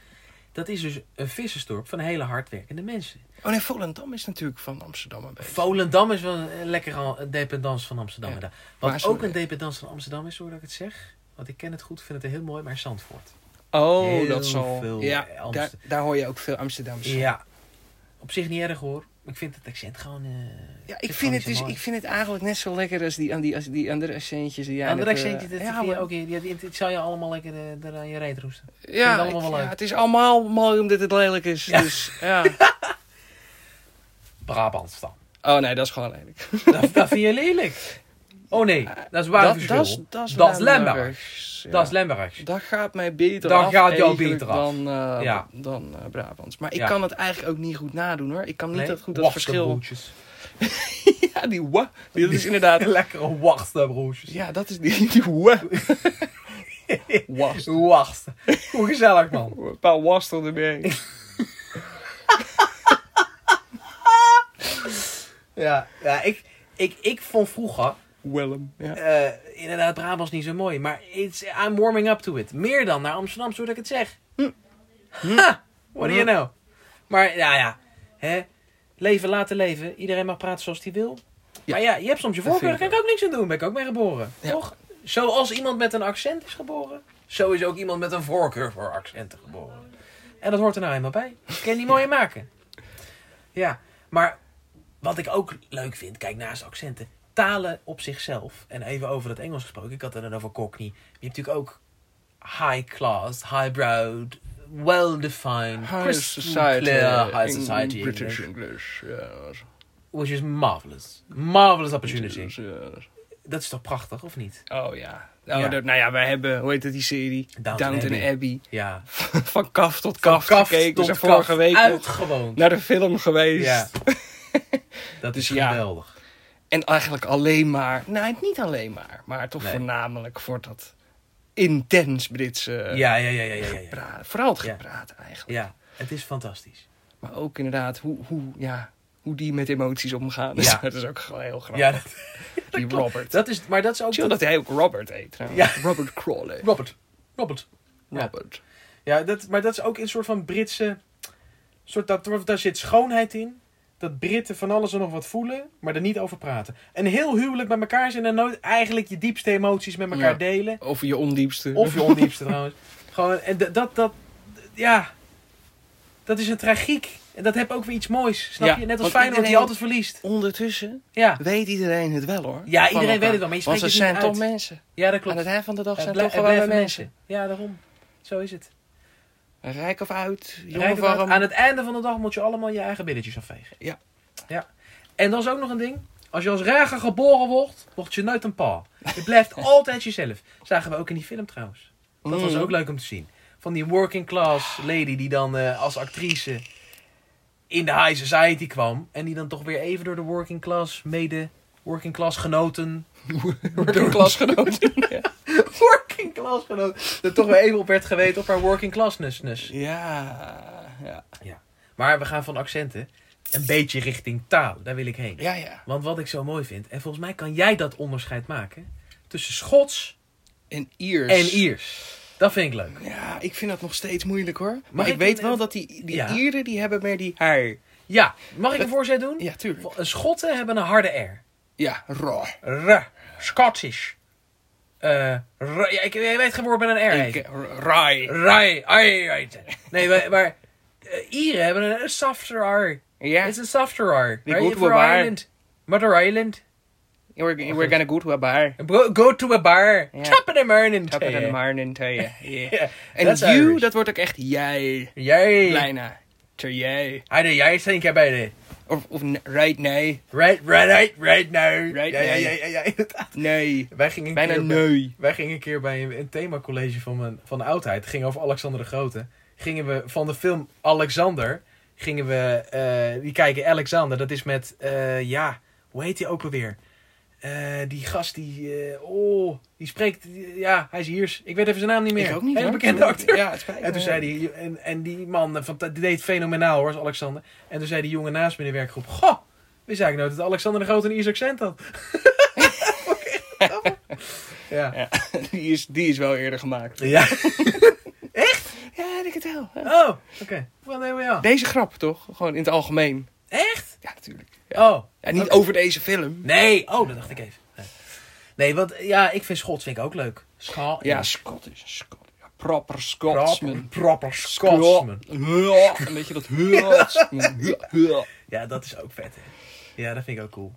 Speaker 1: Dat is dus een vissersdorp van hele hardwerkende mensen.
Speaker 2: oh nee, Volendam is natuurlijk van Amsterdam een beetje.
Speaker 1: Volendam is wel een een lekker al- een dependance van Amsterdam.
Speaker 2: Ja.
Speaker 1: Wat
Speaker 2: Maar
Speaker 1: Wat
Speaker 2: sorry.
Speaker 1: ook een dependance van Amsterdam is, hoor dat ik het zeg. Want ik ken het goed, vind het heel mooi, maar Zandvoort.
Speaker 2: oh,
Speaker 1: Heel
Speaker 2: dat zal.
Speaker 1: veel eh,
Speaker 2: ja,
Speaker 1: Amster-
Speaker 2: daar, daar hoor je ook veel Amsterdamse. Ja,
Speaker 1: Ja. Op zich niet erg hoor. Ik vind het accent gewoon... eh,
Speaker 2: ik,
Speaker 1: gewoon
Speaker 2: vind het
Speaker 1: niet
Speaker 2: dus,
Speaker 1: zo mooi.
Speaker 2: ik vind het eigenlijk net zo lekker als die, aan die, als die andere accentjes. Die jij
Speaker 1: Andere
Speaker 2: net, eh,
Speaker 1: accentje, dat
Speaker 2: ja,
Speaker 1: vind je
Speaker 2: maar-
Speaker 1: ook... in- die- die- Dit zou je allemaal lekker eh, daar aan je reet roesten.
Speaker 2: Ja,
Speaker 1: het allemaal
Speaker 2: ik-
Speaker 1: wel
Speaker 2: ja,
Speaker 1: leuk.
Speaker 2: het is allemaal mooi omdat het lelijk is.
Speaker 1: Ja.
Speaker 2: Dus, ja.
Speaker 1: Brabant dan.
Speaker 2: Oh nee, dat is gewoon lelijk.
Speaker 1: Dat, dat vind je lelijk. Oh nee, dat is waar
Speaker 2: Eh, dat, dat, is-
Speaker 1: verschil.
Speaker 2: dat is
Speaker 1: Dat is Lemberg.
Speaker 2: Lemberg. Ja.
Speaker 1: Dat is Limburgs.
Speaker 2: Dat gaat mij beter
Speaker 1: Dat
Speaker 2: af
Speaker 1: gaat jou
Speaker 2: eigenlijk
Speaker 1: beter af.
Speaker 2: dan, eh,
Speaker 1: Ja.
Speaker 2: dan eh, Brabants. Maar ik
Speaker 1: Ja.
Speaker 2: kan het eigenlijk ook niet goed nadoen hoor. Ik kan niet
Speaker 1: Nee,
Speaker 2: dat goed dat verschil...
Speaker 1: worstenbroodjes.
Speaker 2: Ja, die wa. Die, dat is inderdaad...
Speaker 1: Lekkere worstenbroodjes.
Speaker 2: Ja, dat is die, die wa. Was.
Speaker 1: Wacht. Hoe gezellig, man.
Speaker 2: Een paar wastel erbij.
Speaker 1: Ja, ja ik, ik, ik vond vroeger
Speaker 2: Willem. Ja.
Speaker 1: eh, inderdaad Brabants niet zo mooi. Maar it's, I'm warming up to it. Meer dan naar Amsterdam, zodat ik het zeg. Hm.
Speaker 2: Hm.
Speaker 1: Ha! What do you know? Maar ja, ja. Hè? Leven, laten leven. Iedereen mag praten zoals hij wil.
Speaker 2: Ja.
Speaker 1: Maar ja, je hebt soms je
Speaker 2: Dat
Speaker 1: voorkeur. Daar
Speaker 2: vind ik
Speaker 1: kan ik ook niks aan doen. Ben ik ook mee geboren.
Speaker 2: Ja.
Speaker 1: Toch? Zoals iemand met een accent is geboren, zo is ook iemand met een voorkeur voor accenten geboren. En dat hoort er nou eenmaal bij. Ik kan je niet mooier maken. Ja, maar wat ik ook leuk vind, kijk naast accenten, talen op zichzelf. En even over het Engels gesproken, ik had het net over Cockney. Je hebt natuurlijk ook high class, highbrow, well-defined,
Speaker 2: High
Speaker 1: crystal
Speaker 2: society.
Speaker 1: clear
Speaker 2: in
Speaker 1: high society
Speaker 2: British
Speaker 1: English,
Speaker 2: English. Yes.
Speaker 1: Which is marvelous. Marvelous opportunity.
Speaker 2: Yes, yes.
Speaker 1: Dat is toch prachtig, of niet?
Speaker 2: Oh ja. Nou,
Speaker 1: Ja.
Speaker 2: dat- nou ja, wij hebben, hoe heet dat die serie?
Speaker 1: Downton
Speaker 2: Abbey.
Speaker 1: Abbey. Ja.
Speaker 2: Van kaf tot kaf, gekeken. We zijn
Speaker 1: tot
Speaker 2: vorige
Speaker 1: kaf,
Speaker 2: week nog
Speaker 1: Uitgewoond.
Speaker 2: naar de film geweest.
Speaker 1: Ja. Dat is
Speaker 2: Dus ja.
Speaker 1: geweldig.
Speaker 2: En eigenlijk alleen maar, nou niet alleen maar, maar toch
Speaker 1: Nee.
Speaker 2: voornamelijk voor dat intens Britse
Speaker 1: Ja, ja, ja, ja, ja, ja, ja.
Speaker 2: praten. Vooral het
Speaker 1: Ja.
Speaker 2: gepraat eigenlijk.
Speaker 1: Ja, het is fantastisch.
Speaker 2: Maar ook inderdaad hoe, hoe, ja, hoe die met emoties omgaan.
Speaker 1: Ja.
Speaker 2: dat is ook gewoon heel grappig.
Speaker 1: Ja, dat,
Speaker 2: die Robert.
Speaker 1: dat is, maar dat is ook...
Speaker 2: Chill dat hij ook Robert heet trouwens.
Speaker 1: Ja.
Speaker 2: Robert Crawley.
Speaker 1: Robert. Robert. Ja.
Speaker 2: Robert.
Speaker 1: Ja, dat, maar dat is ook een soort van Britse... Soort, dat, daar zit schoonheid in. dat Britten van alles en nog wat voelen, maar er niet over praten. Een heel huwelijk met elkaar zijn en nooit eigenlijk je diepste emoties met elkaar
Speaker 2: Ja.
Speaker 1: delen.
Speaker 2: Of je ondiepste.
Speaker 1: Of je ondiepste trouwens. Gewoon, en d- dat, dat, ja, dat is een tragiek. En dat heeft ook weer iets moois, snap
Speaker 2: Ja,
Speaker 1: je? Net als
Speaker 2: want
Speaker 1: Feyenoord die
Speaker 2: iedereen-
Speaker 1: altijd verliest.
Speaker 2: Ondertussen
Speaker 1: Ja,
Speaker 2: weet iedereen het wel hoor.
Speaker 1: Ja,
Speaker 2: Van
Speaker 1: iedereen
Speaker 2: elkaar.
Speaker 1: weet het wel, maar je
Speaker 2: Want
Speaker 1: spreekt
Speaker 2: ze
Speaker 1: het
Speaker 2: zijn
Speaker 1: niet
Speaker 2: toch
Speaker 1: uit.
Speaker 2: mensen.
Speaker 1: ja dat
Speaker 2: Aan
Speaker 1: klopt.
Speaker 2: het eind van de dag
Speaker 1: Het
Speaker 2: zijn
Speaker 1: blij-
Speaker 2: toch
Speaker 1: het
Speaker 2: gewoon weer
Speaker 1: blijven
Speaker 2: mensen.
Speaker 1: Ja, daarom. Zo is het.
Speaker 2: Rijk of oud, jong
Speaker 1: Rijk
Speaker 2: of
Speaker 1: of oud,
Speaker 2: arm.
Speaker 1: Aan het einde van de dag moet je allemaal je eigen billetjes afvegen.
Speaker 2: Ja.
Speaker 1: ja. En dat is ook nog een ding. Als je als rager geboren wordt, word je nooit een pa. Je blijft altijd jezelf. Zagen we ook in die film trouwens. ah, Dat was
Speaker 2: Mm.
Speaker 1: ook leuk om te zien. Van die working class lady die dan eh, als actrice in de high society kwam. En die dan toch weer even door de working class mede... Working class genoten.
Speaker 2: Door klasgenoten. ja.
Speaker 1: Working class genoten. Er toch weer even op werd geweten op haar working classness.
Speaker 2: Ja, ja.
Speaker 1: Maar we gaan van accenten een beetje richting taal. Daar wil ik heen.
Speaker 2: Ja, ja.
Speaker 1: Want wat ik zo mooi vind, en volgens mij kan jij dat onderscheid maken tussen Schots
Speaker 2: En Iers.
Speaker 1: en Iers. Dat vind ik leuk.
Speaker 2: Ja, ik vind dat nog steeds moeilijk hoor. Maar,
Speaker 1: Mag
Speaker 2: ik
Speaker 1: ik
Speaker 2: weet
Speaker 1: een-
Speaker 2: wel dat die, die
Speaker 1: Ja.
Speaker 2: Ieren, die hebben meer die haar.
Speaker 1: Ja, mag ik een
Speaker 2: Het-
Speaker 1: voorzet doen?
Speaker 2: Ja, tuurlijk.
Speaker 1: Een Schotten hebben een harde R.
Speaker 2: Ja, raar.
Speaker 1: R. Scottish. Eh, r- ja, ik, je weet geen woord met een R.
Speaker 2: Ik- eh,
Speaker 1: even.
Speaker 2: r- Raai.
Speaker 1: Rai. ai, ai. Nee, maar, maar eh, Ieren hebben een, een softer R.
Speaker 2: Ja,
Speaker 1: Het is een softer R.
Speaker 2: Die
Speaker 1: Right?
Speaker 2: goed wel
Speaker 1: For
Speaker 2: waar.
Speaker 1: Ireland. Mother Island.
Speaker 2: we're, we're gonna go to a bar.
Speaker 1: Go, go to a bar.
Speaker 2: Ja.
Speaker 1: Tap in a morning.
Speaker 2: Tap it in the
Speaker 1: tea.
Speaker 2: morning, tell you. Yeah.
Speaker 1: Ja,
Speaker 2: En
Speaker 1: that's
Speaker 2: you,
Speaker 1: Irish.
Speaker 2: dat wordt ook echt jij.
Speaker 1: Jij.
Speaker 2: Bijna. Ter jij.
Speaker 1: Hij doet jij zijn keer bij de.
Speaker 2: Of, of n- right, nee.
Speaker 1: Right, right, right, right now.
Speaker 2: Right
Speaker 1: ja, ja,
Speaker 2: now.
Speaker 1: ja, ja, ja, inderdaad.
Speaker 2: Nee.
Speaker 1: Wij gingen een
Speaker 2: Bijna
Speaker 1: keer bij-
Speaker 2: nee.
Speaker 1: wij gingen een keer bij een, een themacollege van, mijn, van de oudheid. Het ging over Alexander de Grote. Gingen we van de film Alexander. Gingen we. eh, die kijken Alexander. Dat is met. eh, ja, hoe heet hij ook alweer? Eh, die gast die. eh, oh, die spreekt. ja, hij is Iers. Ik weet even zijn naam niet meer.
Speaker 2: Ik ook niet.
Speaker 1: Hele
Speaker 2: hoor.
Speaker 1: bekende acteur.
Speaker 2: Ja, het spijt me.
Speaker 1: En toen zei die, en, en die man, van, die deed fenomenaal hoor, als Alexander. En toen zei die jongen naast me in de werkgroep, goh, wist eigenlijk nooit dat Alexander de Grote een Iers accent had. Oké, grappig. ja.
Speaker 2: Ja, die, is, die is wel eerder gemaakt.
Speaker 1: Ja.
Speaker 2: Ja, ik denk het wel. Ja.
Speaker 1: Oh, oké. Well, there we are.
Speaker 2: Deze grap toch? Gewoon in het algemeen.
Speaker 1: Echt?
Speaker 2: Ja, natuurlijk.
Speaker 1: Oh.
Speaker 2: Ja, niet
Speaker 1: Oké.
Speaker 2: over deze film.
Speaker 1: Nee. Oh, dat dacht ik even. Nee. Nee, want eh, ja, ik vind Schots vind ik ook leuk. Schal.
Speaker 2: Ja, Scott is een Scot. Ja, proper
Speaker 1: Proper,
Speaker 2: Scotsman.
Speaker 1: proper Scotsman.
Speaker 2: Ja, Een beetje dat Scotsman. Ja, ja.
Speaker 1: Ja, dat is ook vet. Hè. Ja, dat vind ik ook cool.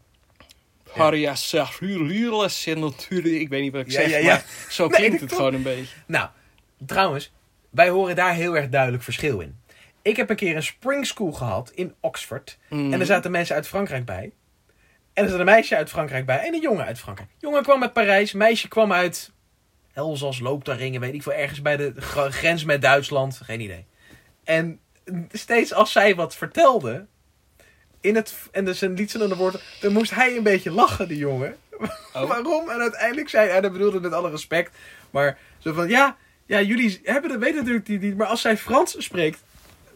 Speaker 2: Harja Sahulilas en natuurlijk. Ik weet niet wat ik
Speaker 1: Ja,
Speaker 2: zeg,
Speaker 1: ja, ja.
Speaker 2: maar zo
Speaker 1: Nee,
Speaker 2: klinkt
Speaker 1: dat
Speaker 2: het
Speaker 1: klopt.
Speaker 2: gewoon een beetje.
Speaker 1: Nou, trouwens, wij horen daar heel erg duidelijk verschil in. Ik heb een keer een spring school gehad in Oxford.
Speaker 2: Mhm.
Speaker 1: En er zaten mensen uit Frankrijk bij. En er zat een meisje uit Frankrijk bij en een jongen uit Frankrijk. Jongen kwam uit Parijs, meisje kwam uit Elzas, Loopdaringen, weet ik veel. Ergens bij de gr- grens met Duitsland, geen idee. En steeds als zij wat vertelde, in het, en dus een lied ze dan de woorden, dan moest hij een beetje lachen, die jongen.
Speaker 2: Oh.
Speaker 1: Waarom? En uiteindelijk zei hij, dat bedoelde het met alle respect, maar zo van, ja, ja jullie hebben dat, weten natuurlijk die- niet, maar als zij Frans spreekt,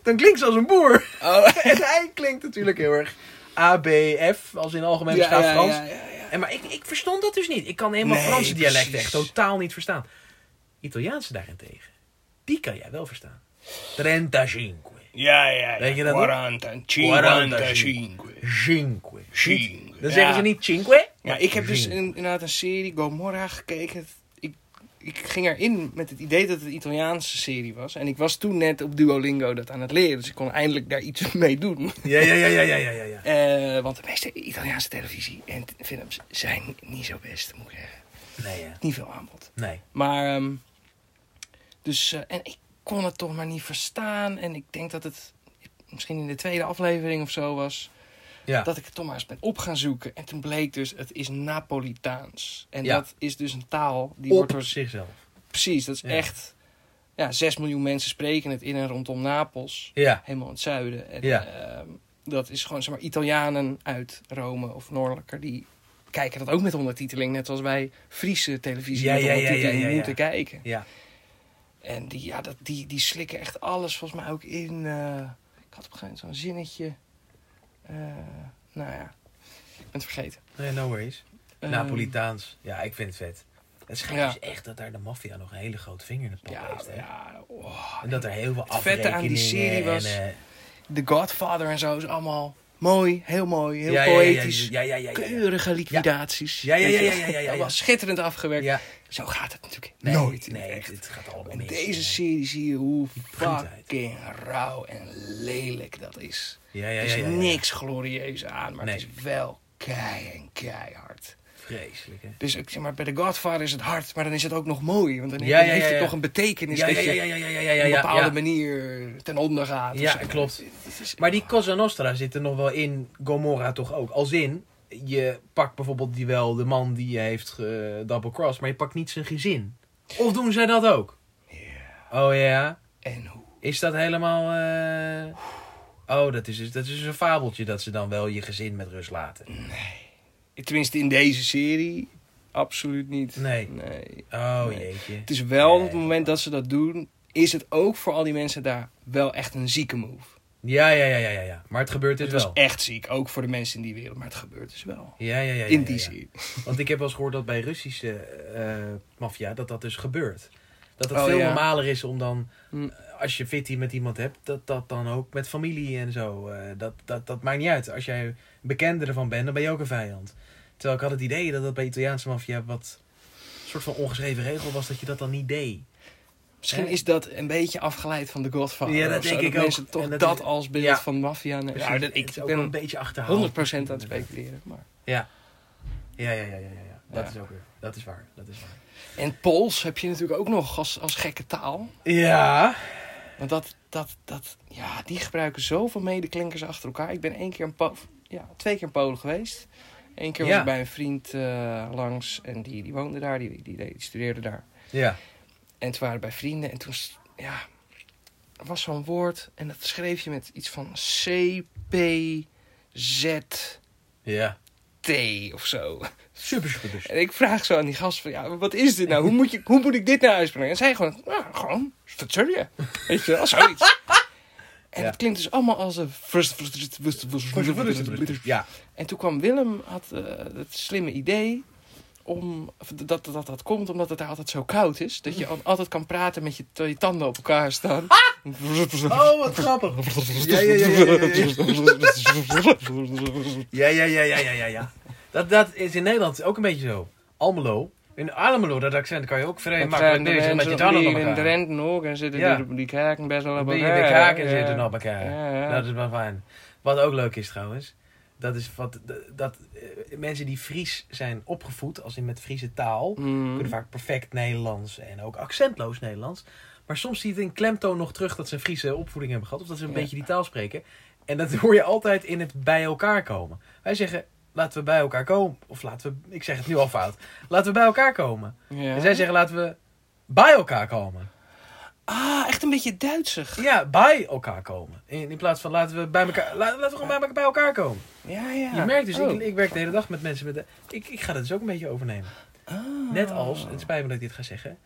Speaker 1: dan klinkt ze als een boer.
Speaker 2: Oh,
Speaker 1: en hij klinkt natuurlijk heel erg A, B, F, als in algemeen
Speaker 2: ja,
Speaker 1: beschaafd
Speaker 2: ja,
Speaker 1: Frans.
Speaker 2: ja, ja, ja.
Speaker 1: En, maar ik, ik verstond dat dus niet. Ik kan helemaal
Speaker 2: Nee,
Speaker 1: Franse dialecten
Speaker 2: precies.
Speaker 1: echt totaal niet verstaan. Italiaanse daarentegen, die kan jij wel verstaan. Trentacinque.
Speaker 2: Ja, ja, ja.
Speaker 1: Weet je dat nog?
Speaker 2: 45.
Speaker 1: Cinque.
Speaker 2: Cinque.
Speaker 1: Dan zeggen
Speaker 2: Ja.
Speaker 1: ze niet cinque.
Speaker 2: Ja,
Speaker 1: maar
Speaker 2: ik heb dus
Speaker 1: cinque.
Speaker 2: een- inderdaad een serie, Gomorra, gekeken. Ik, ik ging erin met het idee dat het een Italiaanse serie was. En ik was toen net op Duolingo dat aan het leren. Dus ik kon eindelijk daar iets mee doen.
Speaker 1: Ja, ja, ja, ja, ja, ja, ja, ja.
Speaker 2: Eh, want de meeste Italiaanse televisie en t- films zijn niet zo best, moet ik zeggen.
Speaker 1: Nee, ja.
Speaker 2: Niet veel aanbod.
Speaker 1: Nee.
Speaker 2: Maar, ehm, dus, eh, en ik kon het toch maar niet verstaan. En ik denk dat het misschien in de tweede aflevering of zo was.
Speaker 1: Ja.
Speaker 2: Dat ik het toch maar eens ben op gaan zoeken. En toen bleek dus, het is Napolitaans. En
Speaker 1: Ja.
Speaker 2: dat is dus een taal die
Speaker 1: Op
Speaker 2: wordt door...
Speaker 1: zichzelf.
Speaker 2: Precies, dat is
Speaker 1: Ja.
Speaker 2: echt... Ja, 6 miljoen mensen spreken het in en rondom Napels.
Speaker 1: Ja.
Speaker 2: Helemaal in het zuiden. En,
Speaker 1: Ja.
Speaker 2: ehm, dat is gewoon, zeg maar, Italianen uit Rome of Noordelijker... die kijken dat ook met ondertiteling. Net als wij Friese televisie
Speaker 1: Ja,
Speaker 2: met
Speaker 1: ja, ja,
Speaker 2: ondertiteling
Speaker 1: ja, ja, ja.
Speaker 2: moeten kijken.
Speaker 1: Ja.
Speaker 2: En die, ja, dat, die, die slikken echt alles volgens mij ook in. eh, ik had op een gegeven moment zo'n zinnetje. eh, nou ja, ik ben het vergeten.
Speaker 1: Nee, no worries.
Speaker 2: Eh,
Speaker 1: Napolitaans. Ja, ik vind het vet. Het schijnt
Speaker 2: Ja.
Speaker 1: dus echt dat daar de maffia nog een hele grote vinger in de pap
Speaker 2: Ja,
Speaker 1: heeft. Hè?
Speaker 2: ja oh,
Speaker 1: En dat er heel veel
Speaker 2: Het vette aan die
Speaker 1: afrekeningen
Speaker 2: serie was-
Speaker 1: En, eh,
Speaker 2: The Godfather en zo is allemaal Mooi, heel mooi, heel
Speaker 1: ja, ja, ja, ja,
Speaker 2: poëtisch.
Speaker 1: Ja, ja, ja, ja, ja.
Speaker 2: Keurige liquidaties.
Speaker 1: Ja, ja, ja, ja, ja, ja, ja, ja.
Speaker 2: Dat was schitterend afgewerkt.
Speaker 1: Ja.
Speaker 2: Zo gaat het natuurlijk
Speaker 1: Nee,
Speaker 2: nooit. in
Speaker 1: Nee,
Speaker 2: het echt.
Speaker 1: het gaat allemaal
Speaker 2: In
Speaker 1: mis.
Speaker 2: deze serie zie je hoe
Speaker 1: cruelheid.
Speaker 2: fucking rauw en lelijk dat is.
Speaker 1: Ja, ja,
Speaker 2: Er
Speaker 1: ja,
Speaker 2: is
Speaker 1: ja, ja.
Speaker 2: niks glorieus aan, maar het
Speaker 1: Nee.
Speaker 2: is wel kei en keihard.
Speaker 1: Vreselijk, hè?
Speaker 2: Dus ik zeg maar, bij The Godfather is het hard, maar dan is het ook nog mooi. Want dan
Speaker 1: Ja, ja, ja,
Speaker 2: heeft het
Speaker 1: ja.
Speaker 2: nog een betekenis
Speaker 1: Ja,
Speaker 2: dat
Speaker 1: ja,
Speaker 2: je
Speaker 1: ja, ja, ja, ja, ja, ja,
Speaker 2: op een
Speaker 1: ja,
Speaker 2: bepaalde
Speaker 1: ja.
Speaker 2: manier ten onder gaat. of
Speaker 1: Ja,
Speaker 2: zo.
Speaker 1: klopt.
Speaker 2: Het- het is-
Speaker 1: Maar die Cosa Nostra zit er nog wel in, Gomorra toch ook. Als in, je pakt bijvoorbeeld die wel de man die je heeft ge- double cross, maar je pakt niet zijn gezin. Of doen zij dat ook? Oh ja?
Speaker 2: En hoe?
Speaker 1: Is dat helemaal... eh, Oh, dat is, dus- dat is dus een fabeltje dat ze dan wel je gezin met rust laten.
Speaker 2: Tenminste, in deze serie absoluut niet.
Speaker 1: Nee.
Speaker 2: nee.
Speaker 1: Oh
Speaker 2: Nee.
Speaker 1: jeetje.
Speaker 2: Het is wel op het
Speaker 1: Nee.
Speaker 2: moment dat ze dat doen, is het ook voor al die mensen daar wel echt een zieke move.
Speaker 1: Ja, ja, ja, ja, ja, ja. Maar het gebeurt dit
Speaker 2: Het was
Speaker 1: wel.
Speaker 2: echt ziek, ook voor de mensen in die wereld, maar het gebeurt dus wel.
Speaker 1: Ja, ja, ja, ja,
Speaker 2: In
Speaker 1: ja,
Speaker 2: die
Speaker 1: ja.
Speaker 2: serie.
Speaker 1: Want ik heb wel eens gehoord dat bij Russische eh maffia dat dat dus gebeurt. Dat het
Speaker 2: Oh,
Speaker 1: veel
Speaker 2: ja.
Speaker 1: normaler is om dan, eh,
Speaker 2: Hm.
Speaker 1: als je fitty met iemand hebt, dat dat dan ook met familie en zo. eh, dat, dat, dat maakt niet uit. Als jij een bekende ervan bent, dan ben je ook een vijand. Terwijl ik had het idee dat dat bij Italiaanse maffia wat soort van ongeschreven regel was dat je dat dan niet deed.
Speaker 2: Misschien
Speaker 1: Hè?
Speaker 2: is dat een beetje afgeleid van The Godfather.
Speaker 1: Ja, dat
Speaker 2: of zo,
Speaker 1: denk ik
Speaker 2: dat
Speaker 1: ook.
Speaker 2: mensen toch
Speaker 1: En
Speaker 2: dat,
Speaker 1: dat is-
Speaker 2: als beeld
Speaker 1: Ja.
Speaker 2: van maffia... nemen.
Speaker 1: Precies.
Speaker 2: Ja, dat-
Speaker 1: Dus Het
Speaker 2: ik
Speaker 1: is ook wel een
Speaker 2: ben 100%
Speaker 1: beetje achterhaald.
Speaker 2: aan het speculeren. Maar.
Speaker 1: Ja. Ja, ja, ja, ja, ja. ja. Dat
Speaker 2: Ja.
Speaker 1: is ook weer. Dat is waar. Dat is waar.
Speaker 2: En Pools heb je natuurlijk ook nog als, als gekke taal.
Speaker 1: Ja.
Speaker 2: Want dat, dat, dat, ja, die gebruiken zoveel medeklinkers achter elkaar. Ik ben één keer een Po- ja, twee keer in Polen geweest. Eén keer was
Speaker 1: Ja.
Speaker 2: ik bij een vriend eh, langs en die, die woonde daar, die, die, die studeerde daar.
Speaker 1: Ja.
Speaker 2: En toen waren we bij vrienden en toen, s- ja, er was zo'n woord en dat schreef je met iets van CPZT
Speaker 1: Ja.
Speaker 2: of zo.
Speaker 1: Super, super. dus.
Speaker 2: En ik vraag zo aan die gast van, ja, wat is dit nou? Hoe moet, je, hoe moet ik dit nou uitspreken? En zij gewoon, nou, gewoon, je Weet je wel, zoiets. En
Speaker 1: Ja.
Speaker 2: het klinkt dus allemaal als een... frust- frust- frust- frust- frust-
Speaker 1: Ja.
Speaker 2: En toen kwam Willem, had eh, het slimme idee om, of dat, dat, dat dat komt omdat het daar altijd zo koud is. Dat je al- altijd kan praten met je, terwijl je tanden op elkaar staan.
Speaker 1: Oh, wat grappig. Ja, ja, ja, ja, ja, ja. Ja, ja, ja, ja, ja, ja, ja. Dat, dat is in Nederland ook een beetje zo. Almelo. In Almelo, dat accent kan je ook vrij makkelijk lezen met je tanden op
Speaker 2: Die in
Speaker 1: elkaar.
Speaker 2: Drenthe ook en zitten
Speaker 1: Ja.
Speaker 2: die, die kaken best wel op
Speaker 1: Die
Speaker 2: elkaar.
Speaker 1: de kaken
Speaker 2: ja.
Speaker 1: zitten op elkaar.
Speaker 2: Ja, ja.
Speaker 1: Dat is wel fijn. Wat ook leuk is trouwens, dat is wat, dat eh, mensen die Fries zijn opgevoed, als in met Friese taal,
Speaker 2: Mm.
Speaker 1: kunnen vaak perfect Nederlands en ook accentloos Nederlands. Maar soms zie je het in klemtoon nog terug dat ze een Friese opvoeding hebben gehad. Of dat ze een
Speaker 2: Ja.
Speaker 1: beetje die taal spreken. En dat hoor je altijd in het bij elkaar komen. Wij zeggen, laten we bij elkaar komen. Of laten we, ik zeg het nu al fout. Laten we bij elkaar komen.
Speaker 2: Ja.
Speaker 1: En zij zeggen, laten we bij elkaar komen.
Speaker 2: Ah, echt een beetje Duitsig.
Speaker 1: Ja, bij elkaar komen. In, in plaats van laten we bij elkaar, la- laten we gewoon bij, elkaar- bij elkaar komen.
Speaker 2: Ja, ja.
Speaker 1: Je merkt dus,
Speaker 2: Oh.
Speaker 1: ik, ik werk de hele dag met mensen met... de- ik, ik ga dat dus ook een beetje overnemen.
Speaker 2: Ah.
Speaker 1: Net als, het spijt me dat ik dit ga zeggen.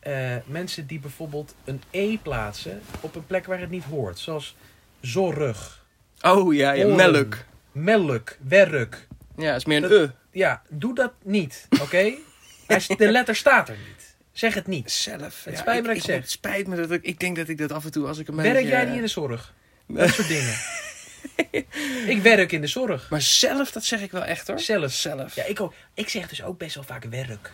Speaker 1: eh, mensen die bijvoorbeeld een E plaatsen op een plek waar het niet hoort. Zoals zorg,
Speaker 2: Oh, ja, ja.
Speaker 1: Oren.
Speaker 2: Melk.
Speaker 1: melk, werk.
Speaker 2: Ja, is meer een
Speaker 1: Dat-
Speaker 2: e.
Speaker 1: Ja, doe dat niet, oké? Hij is- De letter staat er niet. Zeg het niet.
Speaker 2: Zelf.
Speaker 1: Het
Speaker 2: ja,
Speaker 1: spijt me dat ik zeg.
Speaker 2: Het spijt me dat ik... Ik denk dat ik dat af en toe als ik een
Speaker 1: Werk
Speaker 2: beetje-
Speaker 1: jij niet in de zorg? Dat soort dingen. Ik werk in de zorg.
Speaker 2: Maar zelf, dat zeg ik wel echt, hoor.
Speaker 1: Zelf.
Speaker 2: Zelf.
Speaker 1: Ja, ik, ook, ik zeg dus ook best wel vaak werk.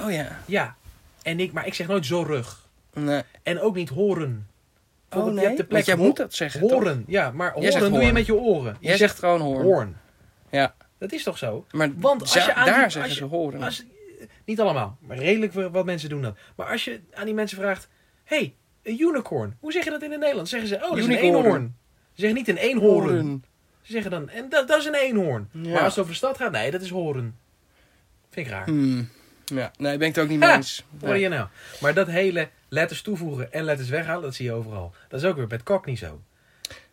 Speaker 2: Oh, ja.
Speaker 1: Ja, en ik, maar ik zeg nooit zorg.
Speaker 2: Nee.
Speaker 1: En ook niet horen.
Speaker 2: Oh,
Speaker 1: Bijvoorbeeld, je
Speaker 2: nee.
Speaker 1: hebt de plek
Speaker 2: Want jij
Speaker 1: ho-
Speaker 2: moet dat zeggen, toch?
Speaker 1: Horen, ja, maar horen
Speaker 2: zegt
Speaker 1: doe je
Speaker 2: hoorn.
Speaker 1: met je oren.
Speaker 2: Jij zegt gewoon hoorn.
Speaker 1: hoorn.
Speaker 2: Ja.
Speaker 1: Dat is toch zo?
Speaker 2: Maar
Speaker 1: Want als
Speaker 2: za-
Speaker 1: je aan die-
Speaker 2: daar
Speaker 1: als
Speaker 2: zeggen
Speaker 1: je-
Speaker 2: ze horen.
Speaker 1: Als, niet allemaal, maar redelijk wel- wat mensen doen dat. Maar als je aan die mensen vraagt, hey, een unicorn, hoe zeg je dat in het Nederlands? Zeggen ze, oh, dat is een
Speaker 2: Unicorn.
Speaker 1: eenhoorn. Ze zeggen niet een eenhoorn. Ze zeggen dan, en dat, dat is een eenhoorn.
Speaker 2: Ja.
Speaker 1: Maar als het over de stad gaat, nee, dat is horen. Vind ik raar.
Speaker 2: Hmm. Ja. Nee, ben ik het ook niet
Speaker 1: Ha!
Speaker 2: mee eens.
Speaker 1: Wat wil je nou? Maar dat hele letters toevoegen en letters weghalen, dat zie je overal. Dat is ook weer met Cockney zo.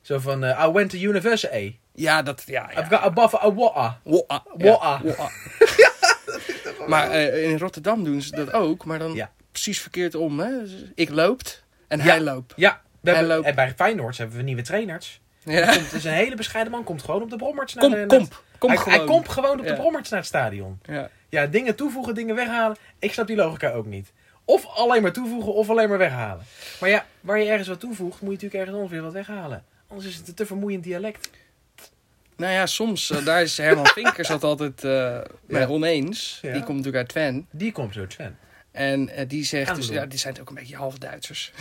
Speaker 1: Zo van, eh, I went to university.
Speaker 2: Ja, dat... Ja, ja.
Speaker 1: I've got above a water.
Speaker 2: Wa-a.
Speaker 1: Wa-a.
Speaker 2: Ja, wa-a. maar eh, in Rotterdam doen ze dat ook, maar dan
Speaker 1: Ja.
Speaker 2: precies verkeerd om. Hè? Ik loopt en
Speaker 1: Ja.
Speaker 2: hij loopt.
Speaker 1: Ja, we hebben-
Speaker 2: Hello.
Speaker 1: en bij Feyenoord hebben we nieuwe trainers.
Speaker 2: Ja.
Speaker 1: Het is een hele bescheiden man, komt gewoon op de brommerts naar de...
Speaker 2: Kom, kom, kom
Speaker 1: hij,
Speaker 2: gewoon.
Speaker 1: hij komt gewoon op de
Speaker 2: Ja.
Speaker 1: brommerts naar het stadion.
Speaker 2: Ja.
Speaker 1: Ja, dingen toevoegen, dingen weghalen. Ik snap die logica ook niet. Of alleen maar toevoegen of alleen maar weghalen. Maar ja, waar je ergens wat toevoegt, moet je natuurlijk ergens ongeveer wat weghalen. Anders is het een te vermoeiend dialect.
Speaker 2: Nou ja, soms, eh, daar is Herman Vinkers dat altijd eh mee
Speaker 1: Ja.
Speaker 2: oneens.
Speaker 1: Ja.
Speaker 2: Die komt natuurlijk uit Twen.
Speaker 1: Die komt zo, Sven.
Speaker 2: En eh, die zegt, dus,
Speaker 1: Aandoen.
Speaker 2: ja, die zijn ook een beetje half Duitsers.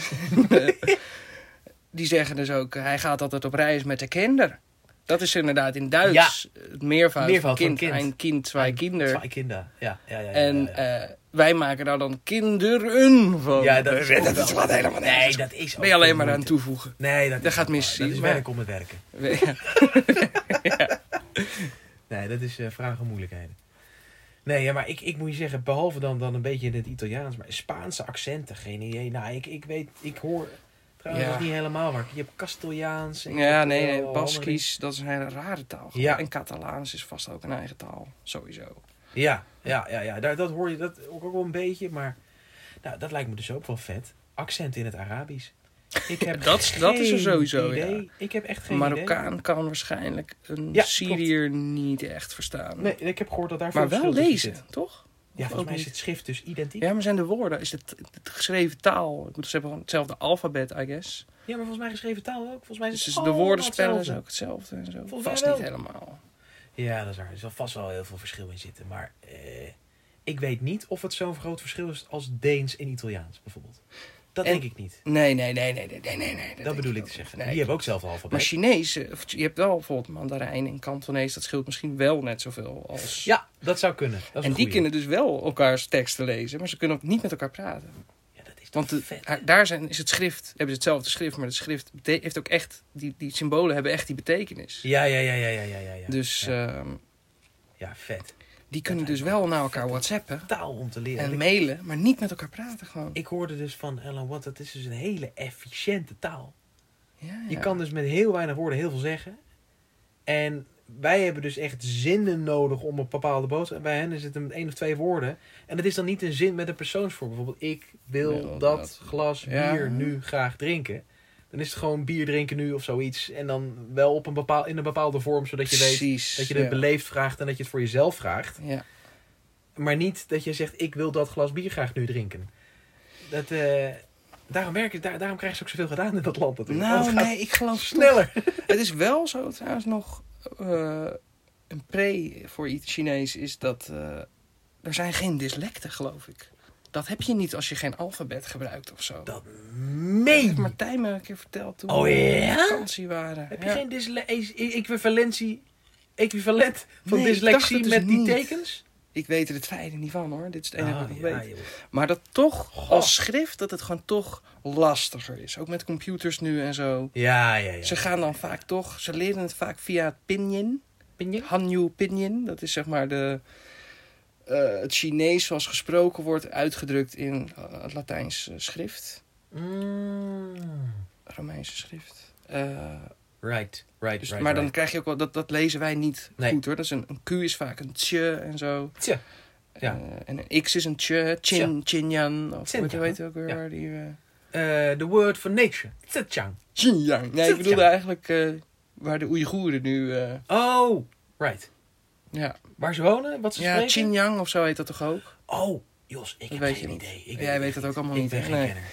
Speaker 2: die zeggen dus ook, eh, hij gaat altijd op reis met de kinder. Dat is inderdaad in Duits het meervoud, van
Speaker 1: Meervoud van
Speaker 2: kind,
Speaker 1: kind.
Speaker 2: Een kind, twee kinderen.
Speaker 1: Twee kinderen. Ja, ja, ja. ja,
Speaker 2: En
Speaker 1: ja, ja.
Speaker 2: eh, wij maken daar dan kinderen van.
Speaker 1: Ja, dat is ook
Speaker 2: dat
Speaker 1: wel-
Speaker 2: is wat helemaal niks.
Speaker 1: Nee, dat is ook
Speaker 2: ben je alleen maar aan
Speaker 1: moeite.
Speaker 2: het toevoegen.
Speaker 1: Nee, dat,
Speaker 2: Dat
Speaker 1: is
Speaker 2: gaat
Speaker 1: ook
Speaker 2: mis,
Speaker 1: waar.
Speaker 2: zie
Speaker 1: Dat is
Speaker 2: je, maar-
Speaker 1: werk om het werken.
Speaker 2: Ja.
Speaker 1: Nee, dat is eh vragen om moeilijkheden. Nee, ja, maar ik, ik moet je zeggen, behalve dan, dan een beetje in het Italiaans, maar Spaanse accenten, geen idee. Nou, ik, ik weet, ik hoor trouwens
Speaker 2: Ja.
Speaker 1: dat is niet helemaal waar. Je hebt Castellaans. en je
Speaker 2: Ja,
Speaker 1: hebt,
Speaker 2: nee,
Speaker 1: eh,
Speaker 2: nee.
Speaker 1: andere-
Speaker 2: Baskisch, dat is een hele rare taal.
Speaker 1: Ja.
Speaker 2: En Catalaans is vast ook een eigen taal, sowieso.
Speaker 1: Ja, ja, ja, ja. Daar, dat hoor je dat ook, ook wel een beetje, maar nou, dat lijkt me dus ook wel vet. Accent in het Arabisch. Ik heb
Speaker 2: Dat- dat is er
Speaker 1: geen
Speaker 2: sowieso,
Speaker 1: idee. Ik heb echt geen idee.
Speaker 2: Marokkaan kan waarschijnlijk een
Speaker 1: Ja,
Speaker 2: Syriër niet echt verstaan.
Speaker 1: Nee, ik heb gehoord dat daar
Speaker 2: maar
Speaker 1: veel
Speaker 2: wel
Speaker 1: verschil tussen
Speaker 2: lezen, toch?
Speaker 1: zit. Ja,
Speaker 2: Of ook
Speaker 1: volgens mij is
Speaker 2: niet?
Speaker 1: het schrift dus identiek.
Speaker 2: Ja, maar zijn de woorden, is het, het geschreven taal? Ik bedoel, ze hebben gewoon hetzelfde alfabet, I guess.
Speaker 1: Ja, maar volgens mij geschreven taal ook. Volgens mij is
Speaker 2: Dus
Speaker 1: het
Speaker 2: de
Speaker 1: allemaal
Speaker 2: woordenspellen is
Speaker 1: hetzelfde.
Speaker 2: ook hetzelfde en zo.
Speaker 1: Volgens mij
Speaker 2: Vast
Speaker 1: wel.
Speaker 2: niet helemaal.
Speaker 1: Ja, dat is waar. Er zal vast wel heel veel verschil in zitten. Maar eh, ik weet niet of het zo'n groot verschil is als Deens en Italiaans bijvoorbeeld. Dat
Speaker 2: En-
Speaker 1: denk ik niet.
Speaker 2: Nee, nee, nee, nee, nee, nee, nee. nee
Speaker 1: Dat, bedoel
Speaker 2: denk
Speaker 1: ik
Speaker 2: ook
Speaker 1: te
Speaker 2: niet.
Speaker 1: zeggen. Die
Speaker 2: Nee, klopt.
Speaker 1: hebben ook zelf alfabet.
Speaker 2: Maar Chinees, eh, of- je hebt wel bijvoorbeeld Mandarijn en Kantonees, dat scheelt misschien wel net zoveel als...
Speaker 1: Ja, dat zou kunnen. Dat is
Speaker 2: en
Speaker 1: een
Speaker 2: die
Speaker 1: goeie.
Speaker 2: kunnen dus wel elkaars teksten lezen, maar ze kunnen ook niet met elkaar praten.
Speaker 1: Ja, dat is toch
Speaker 2: Want de-
Speaker 1: vet.
Speaker 2: haar- daar zijn, is het schrift, hebben ze hetzelfde schrift, maar het schrift bete- heeft ook echt, die, die symbolen hebben echt die betekenis.
Speaker 1: Ja, ja, ja, ja, ja, ja, ja. ja.
Speaker 2: dus
Speaker 1: ja,
Speaker 2: ehm,
Speaker 1: ja, vet.
Speaker 2: die kunnen dus wel naar elkaar whatsappen
Speaker 1: Taal om te leren.
Speaker 2: en
Speaker 1: Ik-
Speaker 2: mailen, maar niet met elkaar praten gewoon.
Speaker 1: Ik hoorde dus van Alan Watt, dat is dus een hele efficiënte taal.
Speaker 2: Ja,
Speaker 1: Je
Speaker 2: ja.
Speaker 1: kan dus met heel weinig woorden heel veel zeggen. En wij hebben dus echt zinnen nodig om een bepaalde boodschap. En bij hen is het een één of twee woorden. En het is dan niet een zin met een persoonsvorm. Bijvoorbeeld, ik wil
Speaker 2: Wil
Speaker 1: dat
Speaker 2: dat.
Speaker 1: glas
Speaker 2: Ja.
Speaker 1: bier nu graag drinken. Dan is het gewoon bier drinken nu of zoiets. En dan wel op een bepaal, in een bepaalde vorm, zodat je weet
Speaker 2: Precies,
Speaker 1: dat je het
Speaker 2: ja.
Speaker 1: beleefd vraagt en dat je het voor jezelf vraagt.
Speaker 2: Ja.
Speaker 1: Maar niet dat je zegt, ik wil dat glas bier graag nu drinken. Dat, eh, daarom, werken, daar, daarom krijgen ze ook zoveel gedaan in dat land natuurlijk. Want
Speaker 2: Nou
Speaker 1: het gaat
Speaker 2: nee, ik geloof
Speaker 1: sneller.
Speaker 2: Het is wel zo trouwens nog eh, een pre voor iets Chinees is dat eh, er zijn geen dyslecten, geloof ik. Dat heb je niet als je geen alfabet gebruikt of zo.
Speaker 1: Dat
Speaker 2: Dat
Speaker 1: meen
Speaker 2: heeft Martijn me een keer verteld toen
Speaker 1: Oh,
Speaker 2: we
Speaker 1: ja?
Speaker 2: op vakantie waren.
Speaker 1: Heb je
Speaker 2: Ja.
Speaker 1: geen dysle- e- equivalentie, equivalent van
Speaker 2: Nee, ik dacht
Speaker 1: dyslexie
Speaker 2: het dus
Speaker 1: met die
Speaker 2: niet. Oh,
Speaker 1: tekens?
Speaker 2: Ik weet er het fijne niet van hoor. Dit is het enige
Speaker 1: Ah,
Speaker 2: wat ik
Speaker 1: ja,
Speaker 2: weet.
Speaker 1: joh.
Speaker 2: Maar dat toch
Speaker 1: Goh.
Speaker 2: als schrift dat het gewoon toch lastiger is. Ook met computers nu en zo.
Speaker 1: Ja, ja, ja.
Speaker 2: Ze gaan dan vaak toch, ze leren het vaak via het pinyin. Hanyu Pinyin, dat is zeg maar de, eh, het Chinees zoals gesproken wordt, uitgedrukt in eh, het Latijnse schrift,
Speaker 1: Mm.
Speaker 2: Romeinse schrift. Eh,
Speaker 1: Right, right,
Speaker 2: dus,
Speaker 1: right.
Speaker 2: maar dan
Speaker 1: right.
Speaker 2: krijg je ook wel, dat, dat lezen wij niet
Speaker 1: Nee.
Speaker 2: goed hoor. Dat is een, een Q is vaak een tje en zo.
Speaker 1: Tje, ja.
Speaker 2: Eh, en een X is een tje, chin, chinyan, of
Speaker 1: Chin
Speaker 2: wat je
Speaker 1: yang,
Speaker 2: weet ook weer
Speaker 1: ja.
Speaker 2: waar die... eh,
Speaker 1: Eh, the word for nature. Tsetjang.
Speaker 2: Xinjiang. Nee, ik
Speaker 1: Zit,
Speaker 2: bedoelde
Speaker 1: ja.
Speaker 2: eigenlijk eh, waar de Oeigoeren nu. eh,
Speaker 1: Oh, right.
Speaker 2: ja,
Speaker 1: Waar ze wonen, wat ze
Speaker 2: ja
Speaker 1: spreken?
Speaker 2: Xinjiang of zo heet dat toch ook?
Speaker 1: Oh, Jos, ik
Speaker 2: Dat
Speaker 1: heb
Speaker 2: weet
Speaker 1: geen
Speaker 2: je niet.
Speaker 1: idee. Ik
Speaker 2: Jij
Speaker 1: weet het
Speaker 2: weet
Speaker 1: echt
Speaker 2: dat ook allemaal niet,
Speaker 1: Ik ben
Speaker 2: hè?
Speaker 1: geen
Speaker 2: Nee.
Speaker 1: kenner.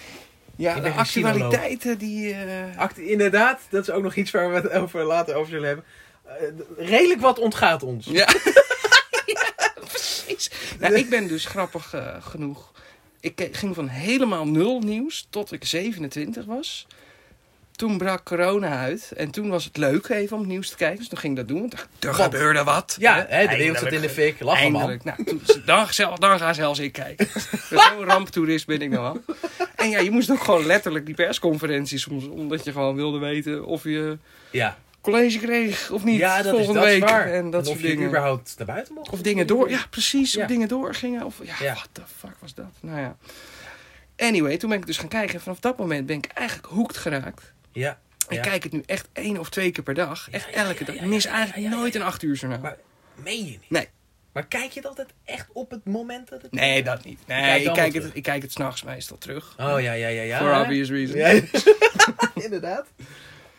Speaker 2: Ja,
Speaker 1: Ik
Speaker 2: de
Speaker 1: ben geen
Speaker 2: actualiteiten die. eh,
Speaker 1: Act- inderdaad, dat is ook nog iets waar we het over later over zullen hebben. Eh, redelijk wat ontgaat ons.
Speaker 2: ja. precies. Nou, ik ben dus grappig eh, genoeg. Ik ke- ging van helemaal nul nieuws tot ik 27 was. Toen brak corona uit. En toen was het leuk even om het nieuws te kijken. Dus toen ging ik dat doen. Want er- er
Speaker 1: Want-
Speaker 2: gebeurde wat.
Speaker 1: Ja,
Speaker 2: Hè?
Speaker 1: hè, de wereld zat in de fik. Lachen man.
Speaker 2: Eindelijk. Nou, toen- dan, zelf- dan ga zelfs ik kijken. Zo'n ramptoerist ben ik nou al. En ja, je moest ook gewoon letterlijk die persconferenties soms... omdat je gewoon wilde weten of je
Speaker 1: Ja.
Speaker 2: college kreeg of niet
Speaker 1: ja, dat
Speaker 2: volgende
Speaker 1: is, dat
Speaker 2: week.
Speaker 1: Is waar.
Speaker 2: En dat
Speaker 1: of
Speaker 2: soort
Speaker 1: je
Speaker 2: dingen.
Speaker 1: überhaupt naar buiten mocht.
Speaker 2: Of dingen door... Ja, precies.
Speaker 1: Ja.
Speaker 2: Of dingen doorgingen. Of ja,
Speaker 1: Ja.
Speaker 2: what the fuck was dat? Nou ja. Anyway, toen ben ik dus gaan kijken. En vanaf dat moment ben ik eigenlijk hoekt geraakt.
Speaker 1: Ja.
Speaker 2: Ik
Speaker 1: ja.
Speaker 2: kijk het nu echt één of twee keer per dag. Echt
Speaker 1: ja,
Speaker 2: elke
Speaker 1: ja,
Speaker 2: dag.
Speaker 1: ja,
Speaker 2: Ik mis
Speaker 1: ja,
Speaker 2: eigenlijk
Speaker 1: ja, ja,
Speaker 2: nooit een acht uur journaal.
Speaker 1: Maar meen je niet?
Speaker 2: Nee.
Speaker 1: Maar kijk je het altijd echt op het moment dat het...
Speaker 2: Nee, dat niet.
Speaker 1: Je kijkt
Speaker 2: Nee, ik
Speaker 1: allemaal
Speaker 2: kijk, het,
Speaker 1: terug.
Speaker 2: ik kijk het s'nachts meestal terug.
Speaker 1: Oh, ja, ja, ja, ja.
Speaker 2: For obvious reasons.
Speaker 1: Ja, inderdaad.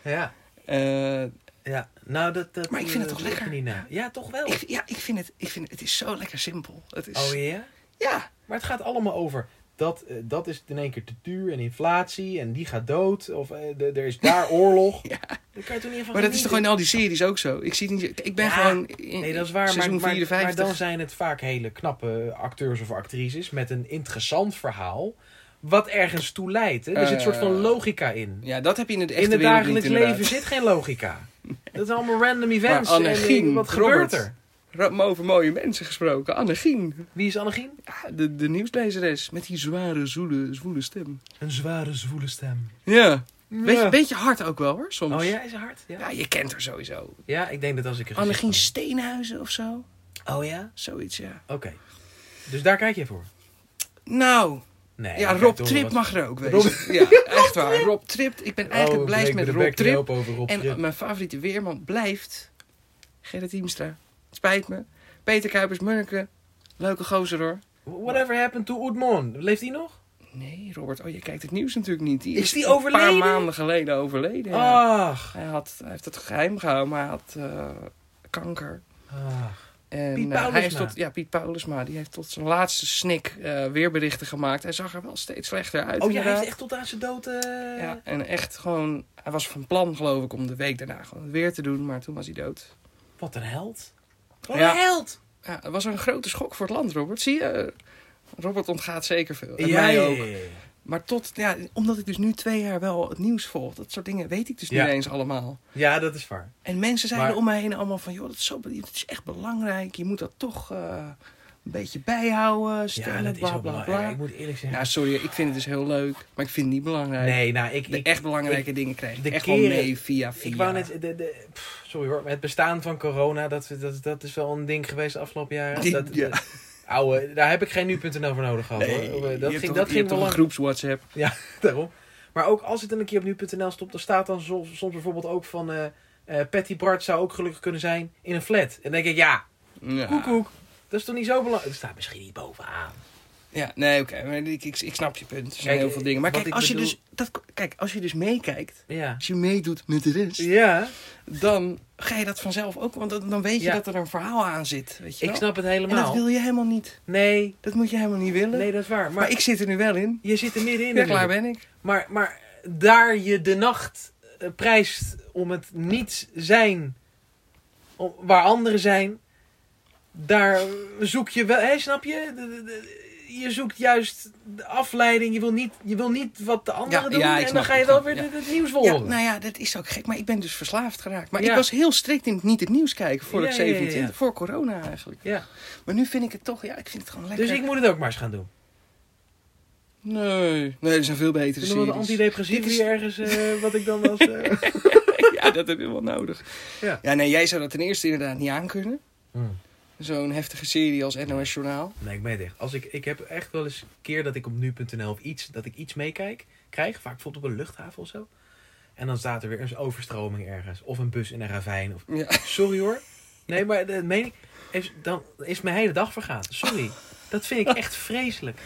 Speaker 1: Ja.
Speaker 2: Eh,
Speaker 1: Ja. Nou, dat... dat
Speaker 2: Maar ik vind het
Speaker 1: eh,
Speaker 2: toch lekker?
Speaker 1: lukt me Niet na. Ja, toch wel.
Speaker 2: ik, ja, ik vind, het, ik vind het, het is zo lekker simpel. Het is,
Speaker 1: Oh ja?
Speaker 2: ja.
Speaker 1: Maar het gaat allemaal over dat, eh, dat is in één keer te duur en inflatie en die gaat dood. Of eh, de- er is daar oorlog.
Speaker 2: Ja.
Speaker 1: Dan kan je toch niet even
Speaker 2: Maar dat is
Speaker 1: genieten?
Speaker 2: toch gewoon in al die series ook zo? Ik, zie het niet, ik ben
Speaker 1: Ja,
Speaker 2: gewoon in,
Speaker 1: Nee, dat is waar. Maar,
Speaker 2: seizoen
Speaker 1: maar,
Speaker 2: 54.
Speaker 1: maar dan zijn het vaak hele knappe acteurs of actrices met een interessant verhaal. Wat ergens toe leidt. Hè? Er zit een soort van
Speaker 2: Eh,
Speaker 1: logica in.
Speaker 2: Ja, dat heb je in het echte
Speaker 1: In het
Speaker 2: wereld
Speaker 1: dagelijks
Speaker 2: niet, inderdaad.
Speaker 1: leven zit geen logica. Dat zijn allemaal random events.
Speaker 2: Maar Anne
Speaker 1: En, eh,
Speaker 2: Gien,
Speaker 1: wat
Speaker 2: Robert.
Speaker 1: gebeurt er?
Speaker 2: Ro- Over mooie mensen gesproken. Annegien,
Speaker 1: Wie is Annegien?
Speaker 2: ja, de, de nieuwslezeres. Met die zware, zoele, zwoele stem.
Speaker 1: Een zware, zwoele stem.
Speaker 2: Ja. Beetje,
Speaker 1: Ja.
Speaker 2: beetje hard ook wel hoor, soms.
Speaker 1: Oh ja, is ze hard?
Speaker 2: Ja,
Speaker 1: Ja.
Speaker 2: je kent haar sowieso.
Speaker 1: ja, ik denk dat als ik er
Speaker 2: Annegien
Speaker 1: gezicht
Speaker 2: Steenhuizen of zo.
Speaker 1: van- Oh ja?
Speaker 2: Zoiets, ja.
Speaker 1: Oké. Dus daar kijk je voor?
Speaker 2: Nou,
Speaker 1: Nee.
Speaker 2: ja,
Speaker 1: ik
Speaker 2: Rob
Speaker 1: kijk toch
Speaker 2: Trip
Speaker 1: wat-
Speaker 2: mag er ook
Speaker 1: Rob-
Speaker 2: wezen. Ja, echt waar. Rob Trip. Ik ben eigenlijk
Speaker 1: Oh,
Speaker 2: blij
Speaker 1: ik ben
Speaker 2: met
Speaker 1: de
Speaker 2: Rob
Speaker 1: bek te
Speaker 2: Trip.
Speaker 1: lopen over Rob
Speaker 2: En eh,
Speaker 1: Trip.
Speaker 2: mijn favoriete weerman blijft Gerrit Hiemstra. Spijt me. Peter Kuipers, Munneke. Leuke gozer hoor.
Speaker 1: Whatever happened to Oedmon? Leeft die nog?
Speaker 2: Nee, Robert. Oh, je kijkt het nieuws natuurlijk niet. Die
Speaker 1: Is
Speaker 2: is,
Speaker 1: die
Speaker 2: Een
Speaker 1: overleden? Oh.
Speaker 2: paar maanden geleden overleden. ja.
Speaker 1: Ach.
Speaker 2: Hij, had, hij heeft het geheim gehouden, maar hij had eh, kanker.
Speaker 1: Ach.
Speaker 2: En,
Speaker 1: Piet
Speaker 2: eh, hij heeft
Speaker 1: Paulusma.
Speaker 2: tot, ja, Piet Paulusma. Die heeft tot zijn laatste snik eh, weerberichten gemaakt. Hij zag er wel steeds slechter uit.
Speaker 1: Oh ja, hij
Speaker 2: inderdaad.
Speaker 1: heeft echt tot aan zijn dood... eh,
Speaker 2: Ja, en echt gewoon... Hij was van plan, geloof ik, om de week daarna gewoon het weer te doen. Maar toen was hij dood.
Speaker 1: Wat een held. Wat
Speaker 2: Ja.
Speaker 1: een held!
Speaker 2: Ja, het was een grote schok voor het land, Robert. Zie je? Robert ontgaat zeker veel. En
Speaker 1: Ja,
Speaker 2: mij
Speaker 1: ja,
Speaker 2: ook.
Speaker 1: ja, ja.
Speaker 2: Maar tot, ja, omdat ik dus nu twee jaar wel het nieuws volg, dat soort dingen weet ik dus
Speaker 1: Ja.
Speaker 2: niet eens allemaal.
Speaker 1: Ja, dat is waar.
Speaker 2: En mensen zeiden
Speaker 1: Maar-
Speaker 2: om mij heen allemaal van, joh, dat is, zo, be- dat is echt belangrijk. Je moet dat toch eh, een beetje bijhouden, stemmen,
Speaker 1: Ja, dat is
Speaker 2: bla,
Speaker 1: ook
Speaker 2: bla,
Speaker 1: belangrijk.
Speaker 2: bla.
Speaker 1: Ik moet eerlijk
Speaker 2: Ja,
Speaker 1: zeggen...
Speaker 2: sorry, ik vind het dus heel leuk, maar ik vind het niet belangrijk.
Speaker 1: Nee, nou, ik...
Speaker 2: de
Speaker 1: ik
Speaker 2: echt belangrijke dingen krijg ik
Speaker 1: de
Speaker 2: echt wel
Speaker 1: keren-
Speaker 2: mee via via.
Speaker 1: ik wou net... De, de, pff, sorry hoor, maar het bestaan van corona, dat, dat, dat is wel een ding geweest de afgelopen jaren.
Speaker 2: Die-
Speaker 1: Dat,
Speaker 2: ja.
Speaker 1: eh, ouwe, daar heb ik geen nu.nl voor nodig gehad.
Speaker 2: Nee,
Speaker 1: hoor.
Speaker 2: je
Speaker 1: Oh, Dat ging,
Speaker 2: hebt
Speaker 1: dat
Speaker 2: toch- je hebt
Speaker 1: ging
Speaker 2: toch
Speaker 1: wel
Speaker 2: een groeps WhatsApp.
Speaker 1: Ja, daarom. Maar ook als het dan een keer op nu.nl stopt, dan staat dan soms, soms bijvoorbeeld ook van... eh eh, Patty Bart zou ook gelukkig kunnen zijn in een flat. En dan denk ik, ja,
Speaker 2: Ja.
Speaker 1: koekoek. Dat is toch niet zo belangrijk? Het staat misschien niet bovenaan.
Speaker 2: Ja, nee, oké. maar ik, ik, ik snap je punt. Er zijn
Speaker 1: Kijk,
Speaker 2: heel veel dingen. Maar
Speaker 1: wat
Speaker 2: kijk
Speaker 1: ik
Speaker 2: als, je
Speaker 1: bedoel-
Speaker 2: dus, dat, kijk, als je dus meekijkt,
Speaker 1: Ja.
Speaker 2: als je meedoet met de rest,
Speaker 1: Ja,
Speaker 2: dan ga je dat vanzelf ook. Want dan, dan weet je
Speaker 1: Ja.
Speaker 2: dat er een verhaal aan zit. Weet je
Speaker 1: ik
Speaker 2: wel?
Speaker 1: snap het
Speaker 2: En dat
Speaker 1: helemaal.
Speaker 2: wil je helemaal niet.
Speaker 1: Nee,
Speaker 2: Dat moet je helemaal niet willen.
Speaker 1: nee, dat is waar. Maar,
Speaker 2: maar, ik zit er nu wel in.
Speaker 1: je zit er middenin.
Speaker 2: Ja,
Speaker 1: nu.
Speaker 2: klaar ben ik.
Speaker 1: Maar, maar daar je de nacht eh, prijst om het niet zijn om- waar anderen zijn, daar zoek je wel, hè, snap je? De- de- de- je zoekt juist de afleiding. Je wil niet, je wil niet wat de anderen
Speaker 2: Ja,
Speaker 1: doen.
Speaker 2: ja, ik
Speaker 1: en
Speaker 2: snap
Speaker 1: dan ga je
Speaker 2: het,
Speaker 1: wel
Speaker 2: ja,
Speaker 1: weer
Speaker 2: ja.
Speaker 1: het, het nieuws
Speaker 2: Ja,
Speaker 1: volgen.
Speaker 2: nou ja, dat is ook gek. Maar ik ben dus verslaafd geraakt. Maar ik
Speaker 1: Ja.
Speaker 2: was heel strikt in het niet het nieuws kijken voor het
Speaker 1: Ja, ja, ja, ja.
Speaker 2: 27. Voor corona eigenlijk.
Speaker 1: Ja.
Speaker 2: Maar nu vind ik het toch, ja, ik vind het gewoon lekker.
Speaker 1: Dus ik moet het ook maar eens gaan doen.
Speaker 2: Nee, nee, er zijn veel betere
Speaker 1: Dus de
Speaker 2: series.
Speaker 1: antidepressieve
Speaker 2: Dit is-
Speaker 1: die ergens eh, wat ik dan was. eh,
Speaker 2: Ja, dat heb je wel nodig.
Speaker 1: Ja.
Speaker 2: ja, nee, jij zou dat ten eerste inderdaad niet aankunnen.
Speaker 1: Hmm.
Speaker 2: Zo'n heftige serie als NOS Journaal.
Speaker 1: Nee, ik meen het echt. Als ik, ik heb echt wel eens een keer dat ik op nu.nl of iets, dat ik iets meekijk, krijg. Vaak bijvoorbeeld op een luchthaven of zo. En dan staat er weer een overstroming ergens. Of een bus in een ravijn. Of...
Speaker 2: Ja.
Speaker 1: Sorry hoor. Nee, maar dat meen ik. Is- Dan is mijn hele dag vergaan. Sorry. Dat vind ik echt vreselijk.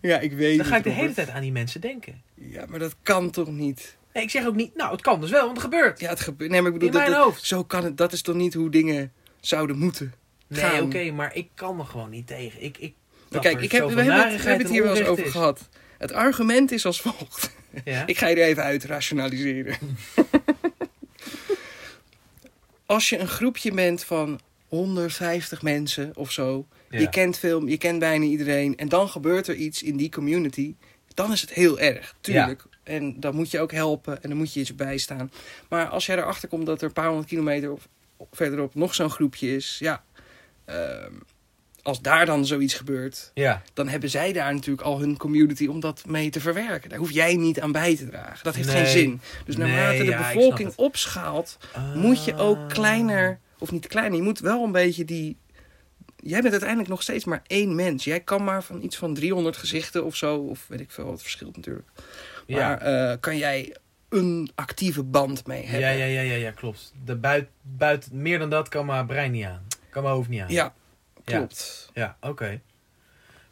Speaker 2: ja, ik weet
Speaker 1: Dan ga ik de hele tijd aan die mensen denken.
Speaker 2: Ja, maar dat kan toch niet?
Speaker 1: Nee, ik zeg ook niet, nou, het kan dus wel, want het gebeurt.
Speaker 2: Ja, het gebeurt. Nee, maar ik bedoel,
Speaker 1: In mijn
Speaker 2: dat, dat-
Speaker 1: hoofd.
Speaker 2: zo kan het. Dat is toch niet hoe dingen zouden moeten?
Speaker 1: Nee,
Speaker 2: gaan.
Speaker 1: oké, maar ik kan er gewoon niet tegen. Ik, ik,
Speaker 2: Maar
Speaker 1: dat
Speaker 2: kijk,
Speaker 1: er
Speaker 2: ik heb, we,
Speaker 1: zoveel
Speaker 2: hebben het, we
Speaker 1: narigheid
Speaker 2: hebben het
Speaker 1: en
Speaker 2: hier wel eens
Speaker 1: onrecht
Speaker 2: over
Speaker 1: is.
Speaker 2: gehad. Het argument is als volgt.
Speaker 1: Ja?
Speaker 2: Ik ga je er even uit rationaliseren. Als je een groepje bent van 150 mensen of zo,
Speaker 1: Ja.
Speaker 2: je kent film, je kent bijna iedereen, en dan gebeurt er iets in die community, dan is het heel erg, tuurlijk. En dan moet je ook helpen en dan moet je iets bijstaan. Maar als jij erachter komt dat er een paar honderd kilometer of- verderop nog zo'n groepje is, ja, ehm, als daar dan zoiets gebeurt,
Speaker 1: Ja.
Speaker 2: dan hebben zij daar natuurlijk al hun community om dat mee te verwerken. Daar hoef jij niet aan bij te dragen. Dat heeft
Speaker 1: Nee.
Speaker 2: geen zin. Dus
Speaker 1: Nee,
Speaker 2: naarmate de
Speaker 1: ja, ik
Speaker 2: bevolking
Speaker 1: snap
Speaker 2: opschaalt, moet je
Speaker 1: Ah.
Speaker 2: ook kleiner, of niet kleiner, je moet wel een beetje die. Jij bent uiteindelijk nog steeds maar één mens. Jij kan maar van iets van 300 gezichten of zo, of weet ik veel, wat verschilt natuurlijk. Maar
Speaker 1: Ja.
Speaker 2: eh, kan jij een actieve band mee hebben?
Speaker 1: Ja, ja, ja, ja, ja, klopt. De buit, buit, meer dan dat kan mijn brein niet aan. Kan mijn hoofd niet aan.
Speaker 2: Ja,
Speaker 1: Ja.
Speaker 2: klopt.
Speaker 1: Ja, oké.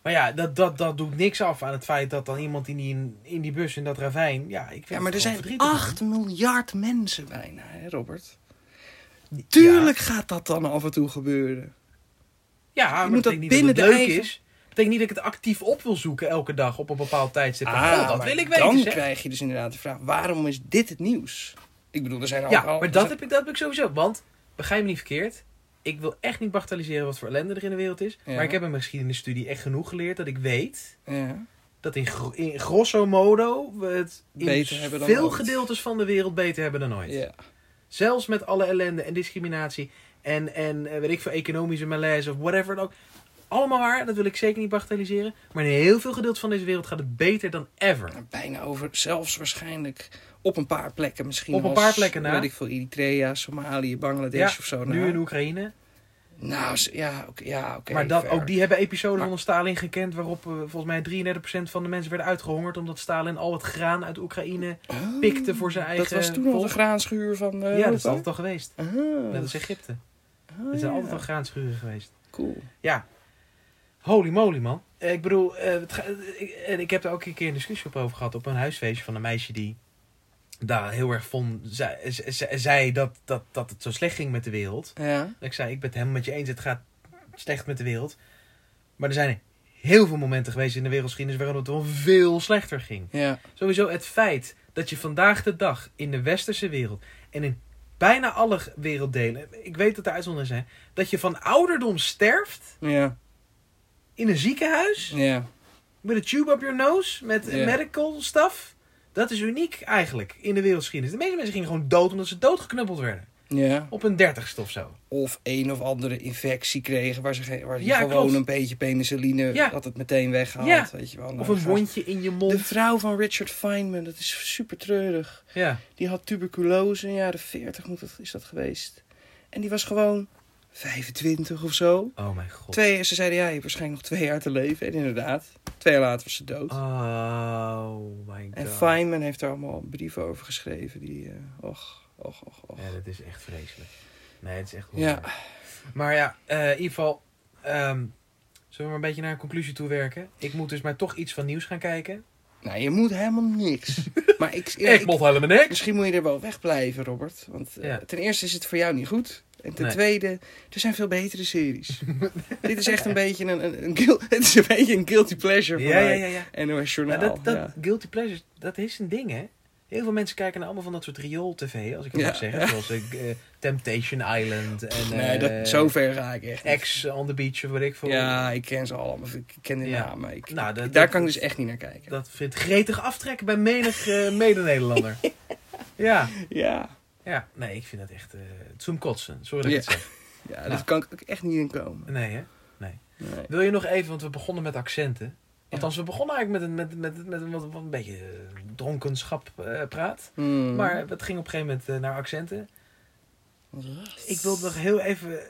Speaker 1: Maar ja, dat, dat, dat doet niks af aan het feit dat dan iemand in die, in die bus in dat ravijn... Ja, ik vind
Speaker 2: Ja,
Speaker 1: het
Speaker 2: maar
Speaker 1: gewoon
Speaker 2: er zijn
Speaker 1: verdrietig, man.
Speaker 2: 8 miljard mensen bijna, hè, Robert?
Speaker 1: Ja.
Speaker 2: Tuurlijk gaat dat dan af en toe gebeuren.
Speaker 1: Ja, maar
Speaker 2: moet
Speaker 1: dat
Speaker 2: dat
Speaker 1: betekent niet
Speaker 2: binnen
Speaker 1: dat
Speaker 2: de
Speaker 1: het leuk
Speaker 2: eigen-
Speaker 1: is. betekent niet dat ik het actief op wil zoeken elke dag op een bepaald tijdstip. Van,
Speaker 2: Ah,
Speaker 1: oh, dat
Speaker 2: maar
Speaker 1: wil ik weten.
Speaker 2: Dan
Speaker 1: zeg.
Speaker 2: krijg je dus inderdaad de vraag: waarom is dit het nieuws? Ik bedoel, er zijn al.
Speaker 1: Ja,
Speaker 2: al-
Speaker 1: maar dat heb, ik, dat heb ik sowieso. Want, begrijp me niet verkeerd. Ik wil echt niet bagatelliseren wat voor ellende er in de wereld is.
Speaker 2: Ja.
Speaker 1: Maar ik heb in mijn geschiedenisstudie echt genoeg geleerd dat ik weet...
Speaker 2: Ja.
Speaker 1: dat in, gro- in grosso modo we het in
Speaker 2: Beter hebben dan
Speaker 1: veel
Speaker 2: ooit.
Speaker 1: gedeeltes van de wereld beter hebben dan ooit.
Speaker 2: ja.
Speaker 1: Zelfs met alle ellende en discriminatie en, en eh, weet ik veel, economische malaise of whatever het ook. Allemaal waar, dat wil ik zeker niet bagatelliseren. Maar in heel veel gedeelten van deze wereld gaat het beter dan ever.
Speaker 2: Nou, Bijna over, zelfs waarschijnlijk op een paar plekken misschien.
Speaker 1: Op een
Speaker 2: als,
Speaker 1: paar plekken na.
Speaker 2: Weet ik veel, Eritrea, Somalië, Bangladesh
Speaker 1: Ja,
Speaker 2: of zo.
Speaker 1: Nu
Speaker 2: na.
Speaker 1: in Oekraïne.
Speaker 2: Nou, s- ja, oké. ja, oké,
Speaker 1: maar dat,
Speaker 2: fair.
Speaker 1: ook die hebben episodes
Speaker 2: Maar-
Speaker 1: onder Stalin gekend. waarop eh, volgens mij 33% van de mensen werden uitgehongerd. omdat Stalin al het graan uit Oekraïne
Speaker 2: Oh,
Speaker 1: pikte voor zijn eigen.
Speaker 2: Dat was toen al de
Speaker 1: volk.
Speaker 2: graanschuur van eh
Speaker 1: Ja, dat is
Speaker 2: Europa?
Speaker 1: altijd al geweest.
Speaker 2: Ah,
Speaker 1: Net als Egypte.
Speaker 2: ah,
Speaker 1: Er zijn
Speaker 2: ja.
Speaker 1: altijd al graanschuren geweest.
Speaker 2: Cool.
Speaker 1: Ja. Holy moly, man. Eh, Ik bedoel, eh, het ga- eh, ik- en ik heb daar ook een keer een discussie op over gehad op een huisfeestje van een meisje die daar heel erg vond, zei, ze- ze- zei dat, dat, dat het zo slecht ging met de wereld.
Speaker 2: Ja.
Speaker 1: En ik zei, ik ben het helemaal met je eens, het gaat slecht met de wereld. Maar er zijn heel veel momenten geweest in de wereldgeschiedenis waarin het wel veel slechter ging.
Speaker 2: Ja.
Speaker 1: Sowieso het feit dat je vandaag de dag in de westerse wereld en in bijna alle g- werelddelen, ik weet dat er uitzonderingen zijn, dat je van ouderdom sterft
Speaker 2: Ja.
Speaker 1: in een ziekenhuis
Speaker 2: Ja.
Speaker 1: met een tube up your nose met
Speaker 2: Ja.
Speaker 1: medical stuff. Dat is uniek eigenlijk in de wereldgeschiedenis. De meeste mensen gingen gewoon dood omdat ze doodgeknuppeld werden.
Speaker 2: Ja.
Speaker 1: Op een dertigste of zo.
Speaker 2: Of een of andere infectie kregen waar ze, ge- waar ze
Speaker 1: Ja,
Speaker 2: gewoon
Speaker 1: klopt.
Speaker 2: een beetje penicilline
Speaker 1: Ja.
Speaker 2: had het meteen weggehaald.
Speaker 1: Ja.
Speaker 2: Weet je wel.
Speaker 1: Of
Speaker 2: Nou,
Speaker 1: een
Speaker 2: gast.
Speaker 1: wondje in je
Speaker 2: De
Speaker 1: mond.
Speaker 2: vrouw van Richard Feynman, dat is super treurig.
Speaker 1: Ja.
Speaker 2: Die had tuberculose in de jaren 40 moet dat, is dat geweest. En die was gewoon 25 of zo.
Speaker 1: Oh mijn god.
Speaker 2: Twee, ze zeiden, ja, je hebt waarschijnlijk nog twee jaar te leven. En inderdaad, twee jaar later was ze dood.
Speaker 1: Oh mijn
Speaker 2: en
Speaker 1: god.
Speaker 2: Feynman heeft daar allemaal brieven over geschreven. Die, eh, och, och, och, och.
Speaker 1: Ja, dat is echt vreselijk. Nee, het is echt
Speaker 2: Ja.
Speaker 1: ja. Maar ja, eh, in ieder geval... ehm, zullen we maar een beetje naar een conclusie toe werken? Ik moet dus maar toch iets van nieuws gaan kijken.
Speaker 2: Nou, je moet helemaal niks. maar ik, ja, ik-
Speaker 1: helemaal niks.
Speaker 2: misschien moet je er wel wegblijven, Robert. Want eh,
Speaker 1: Ja.
Speaker 2: ten eerste is het voor jou niet goed. En ten
Speaker 1: Nee.
Speaker 2: tweede, er zijn veel betere series. Dit is echt een beetje een, een, een, guil- het is een, beetje een guilty pleasure voor
Speaker 1: Ja, ja,
Speaker 2: mij.
Speaker 1: ja. ja.
Speaker 2: En een
Speaker 1: Maar
Speaker 2: journaal.
Speaker 1: dat, dat
Speaker 2: ja.
Speaker 1: guilty pleasures, dat is een ding, hè? Heel veel mensen kijken naar allemaal van dat soort riool-tv, als ik het
Speaker 2: Ja.
Speaker 1: mag zeggen. Zoals eh, Temptation Island en
Speaker 2: nee,
Speaker 1: eh,
Speaker 2: dat, zover ga ik echt. niet.
Speaker 1: Ex on the Beach, of wat ik veel.
Speaker 2: Ja, ik ken ze allemaal. Ik ken de
Speaker 1: Ja.
Speaker 2: namen. Ik,
Speaker 1: Nou, dat-
Speaker 2: daar
Speaker 1: dat-
Speaker 2: kan ik dus echt niet naar kijken.
Speaker 1: Dat vindt gretig aftrekken bij menig eh, mede-Nederlander. ja.
Speaker 2: ja.
Speaker 1: ja, nee, ik vind dat echt... eh zoem kotsen, sorry dat ik
Speaker 2: Ja.
Speaker 1: het zeg.
Speaker 2: Ja,
Speaker 1: Nou.
Speaker 2: daar kan ik ook echt niet in komen.
Speaker 1: Nee, hè?
Speaker 2: Nee.
Speaker 1: Wil je nog even, want we begonnen met accenten. Althans, we begonnen eigenlijk met een, met, met, met een, wat, wat een beetje eh, dronkenschap eh, praat.
Speaker 2: Hmm.
Speaker 1: Maar het ging op een gegeven moment eh, naar accenten. Ik wil nog heel even... eh,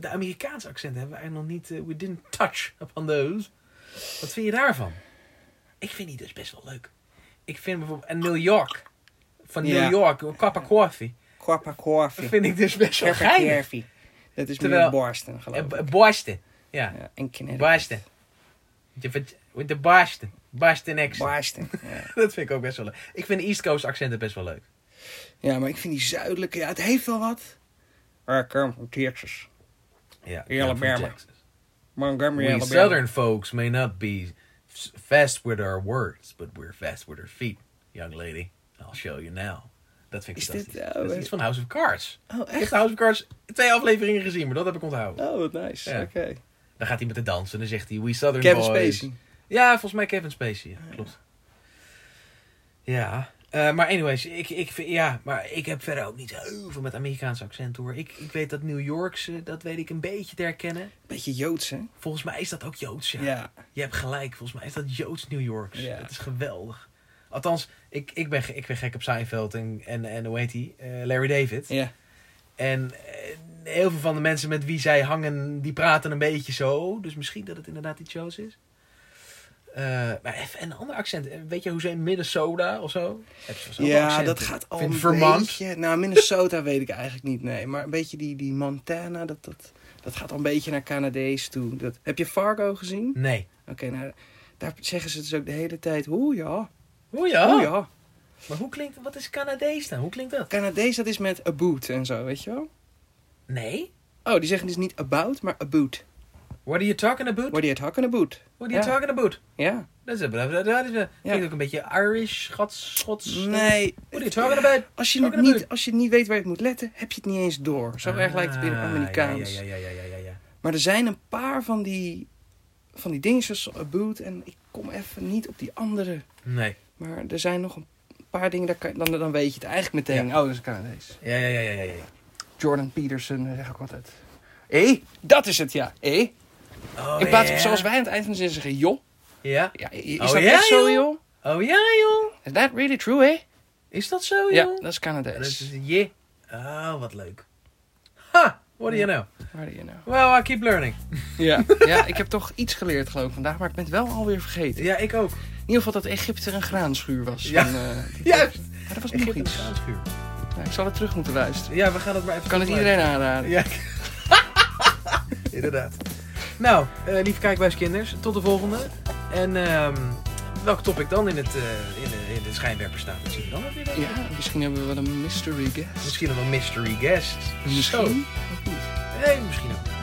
Speaker 1: De Amerikaanse accent hebben we eigenlijk nog niet... eh, we didn't touch upon those. Wat vind je daarvan? Ik vind die dus best wel leuk. Ik vind bijvoorbeeld... En New York. Van New
Speaker 2: Ja.
Speaker 1: York. Een cup of coffee.
Speaker 2: Kwappa kwafje.
Speaker 1: Vind ik dus best wel geinig.
Speaker 2: Dat is
Speaker 1: Terwijl-
Speaker 2: meer Boston, geloof
Speaker 1: En
Speaker 2: ik.
Speaker 1: B- Boston. Ja.
Speaker 2: Ja, en Connecticut.
Speaker 1: Boston. Je vert- With the Boston. Boston accent.
Speaker 2: Boston. Ja.
Speaker 1: Dat vind ik ook best wel leuk. Ik vind de East Coast accenten best wel leuk.
Speaker 2: ja, maar ik vind die zuidelijke... Ja, het heeft wel wat. Ik kom van Texas.
Speaker 1: Ja.
Speaker 2: Alabama. Montgomery,
Speaker 1: We Southern folks may not be s- fast with our words, but we're fast with our feet, young lady. I'll show you now. Dat vind ik
Speaker 2: Is dit,
Speaker 1: fantastisch.
Speaker 2: oh,
Speaker 1: dat is
Speaker 2: eh,
Speaker 1: iets van House of Cards.
Speaker 2: Oh,
Speaker 1: Ik heb
Speaker 2: echt?
Speaker 1: House of Cards twee afleveringen gezien, maar dat heb ik onthouden.
Speaker 2: Oh, wat nice.
Speaker 1: Ja.
Speaker 2: Oké.
Speaker 1: Dan gaat hij met de dans en dan zegt hij, we Southern
Speaker 2: Kevin
Speaker 1: boys.
Speaker 2: Spacey.
Speaker 1: Ja, volgens mij Kevin Spacey. Ah, Ja, klopt. Ja. eh, maar anyways, ik, ik, vind- ja, maar ik heb verder ook niet heel veel met Amerikaanse accent hoor. Ik, ik weet dat New Yorkse, dat weet ik een beetje te herkennen.
Speaker 2: Beetje Joods, hè?
Speaker 1: Volgens mij is dat ook Joods, ja.
Speaker 2: Ja.
Speaker 1: Je hebt gelijk, volgens mij is dat Joods New Yorks.
Speaker 2: Ja.
Speaker 1: Dat is geweldig. Althans, ik, ik, ben, ge- ik ben gek op Seinfeld en, en, en hoe heet hij? Larry David.
Speaker 2: Ja.
Speaker 1: En eh, heel veel van de mensen met wie zij hangen, die praten een beetje zo. Dus misschien dat het inderdaad die Joods is. Eh, maar even een ander accent. Eh, Weet je hoe ze in Minnesota of zo? Hebben ze zo'n
Speaker 2: Ja,
Speaker 1: accent?
Speaker 2: dat gaat al
Speaker 1: Vind
Speaker 2: een
Speaker 1: Vermont.
Speaker 2: beetje... Nou, Minnesota weet ik eigenlijk niet, nee. Maar een beetje die, die Montana, dat, dat, dat gaat al een beetje naar Canadees toe. Dat, heb je Fargo gezien?
Speaker 1: Nee.
Speaker 2: Oké, nou, daar zeggen ze dus ook de hele tijd... Oeh ja,
Speaker 1: Hoe
Speaker 2: oeh
Speaker 1: ja?
Speaker 2: ja.
Speaker 1: Maar hoe klinkt, wat is Canadees dan? Hoe klinkt dat?
Speaker 2: Canadees, dat is met a boot en zo, weet je wel?
Speaker 1: Nee?
Speaker 2: Oh, die zeggen dus niet about, maar a boot.
Speaker 1: What are you talking about?
Speaker 2: Wordt hij het hakken in de boot?
Speaker 1: What are you
Speaker 2: Ja.
Speaker 1: talking about?
Speaker 2: Ja.
Speaker 1: Dat is, dat is, dat is klinkt ook een beetje Irish, Schots, Schots.
Speaker 2: Nee.
Speaker 1: What are you talking about?
Speaker 2: Als je, het
Speaker 1: Talking
Speaker 2: niet, als je het niet weet waar je het moet letten, heb je het niet eens door. Zo erg lijkt het in het
Speaker 1: Ah,
Speaker 2: Amerikaans.
Speaker 1: Ja, ja, ja, ja, ja, ja, ja.
Speaker 2: Maar er zijn een paar van die, van die dingetjes zoals A Boot. En ik kom even niet op die andere.
Speaker 1: Nee.
Speaker 2: Maar er zijn nog een paar dingen, daar kan, dan, dan weet je het eigenlijk meteen. Oh, dat is een Canadees.
Speaker 1: Ja, ja, ja, ja, ja. ja.
Speaker 2: Jordan Peterson, daar zeg ik altijd. Hé, dat is het, ja. Hé.
Speaker 1: Eh? Oh,
Speaker 2: In plaats
Speaker 1: ja.
Speaker 2: van zoals wij aan het eind van de zin zeggen, joh.
Speaker 1: Ja.
Speaker 2: Ja, is
Speaker 1: Oh,
Speaker 2: dat
Speaker 1: ja,
Speaker 2: echt zo,
Speaker 1: joh?
Speaker 2: joh?
Speaker 1: Oh ja, joh.
Speaker 2: Is that really true, hé?
Speaker 1: Is dat zo, Oh, joh?
Speaker 2: Ja, dat is
Speaker 1: Dat is
Speaker 2: Canadees.
Speaker 1: je. Oh, wat leuk. Ha, what do you know?
Speaker 2: Waar je nou?
Speaker 1: Well, I keep learning.
Speaker 2: Ja. ja, ik heb toch iets geleerd geloof ik vandaag, maar ik ben het wel alweer vergeten.
Speaker 1: Ja, ik ook.
Speaker 2: In ieder geval dat Egypte een graanschuur was.
Speaker 1: Ja.
Speaker 2: Van, eh,
Speaker 1: Juist.
Speaker 2: maar dat was nog
Speaker 1: Egypte
Speaker 2: iets.
Speaker 1: graanschuur.
Speaker 2: Ja, ik zal het terug moeten luisteren.
Speaker 1: Ja, we gaan het maar even...
Speaker 2: Kan het
Speaker 1: terugluisteren.
Speaker 2: iedereen aanraden.
Speaker 1: Ja. Inderdaad. Nou, eh, lieve kijkbuiskinders, tot de volgende. En ehm welk topic dan in, het, eh, in, de, in de schijnwerper staat, dat zien we dan wel weer. denk ik.
Speaker 2: Ja, misschien hebben we wel een mystery guest.
Speaker 1: Misschien nog een mystery guest.
Speaker 2: Misschien.
Speaker 1: Zo. Nee, misschien ook. niet.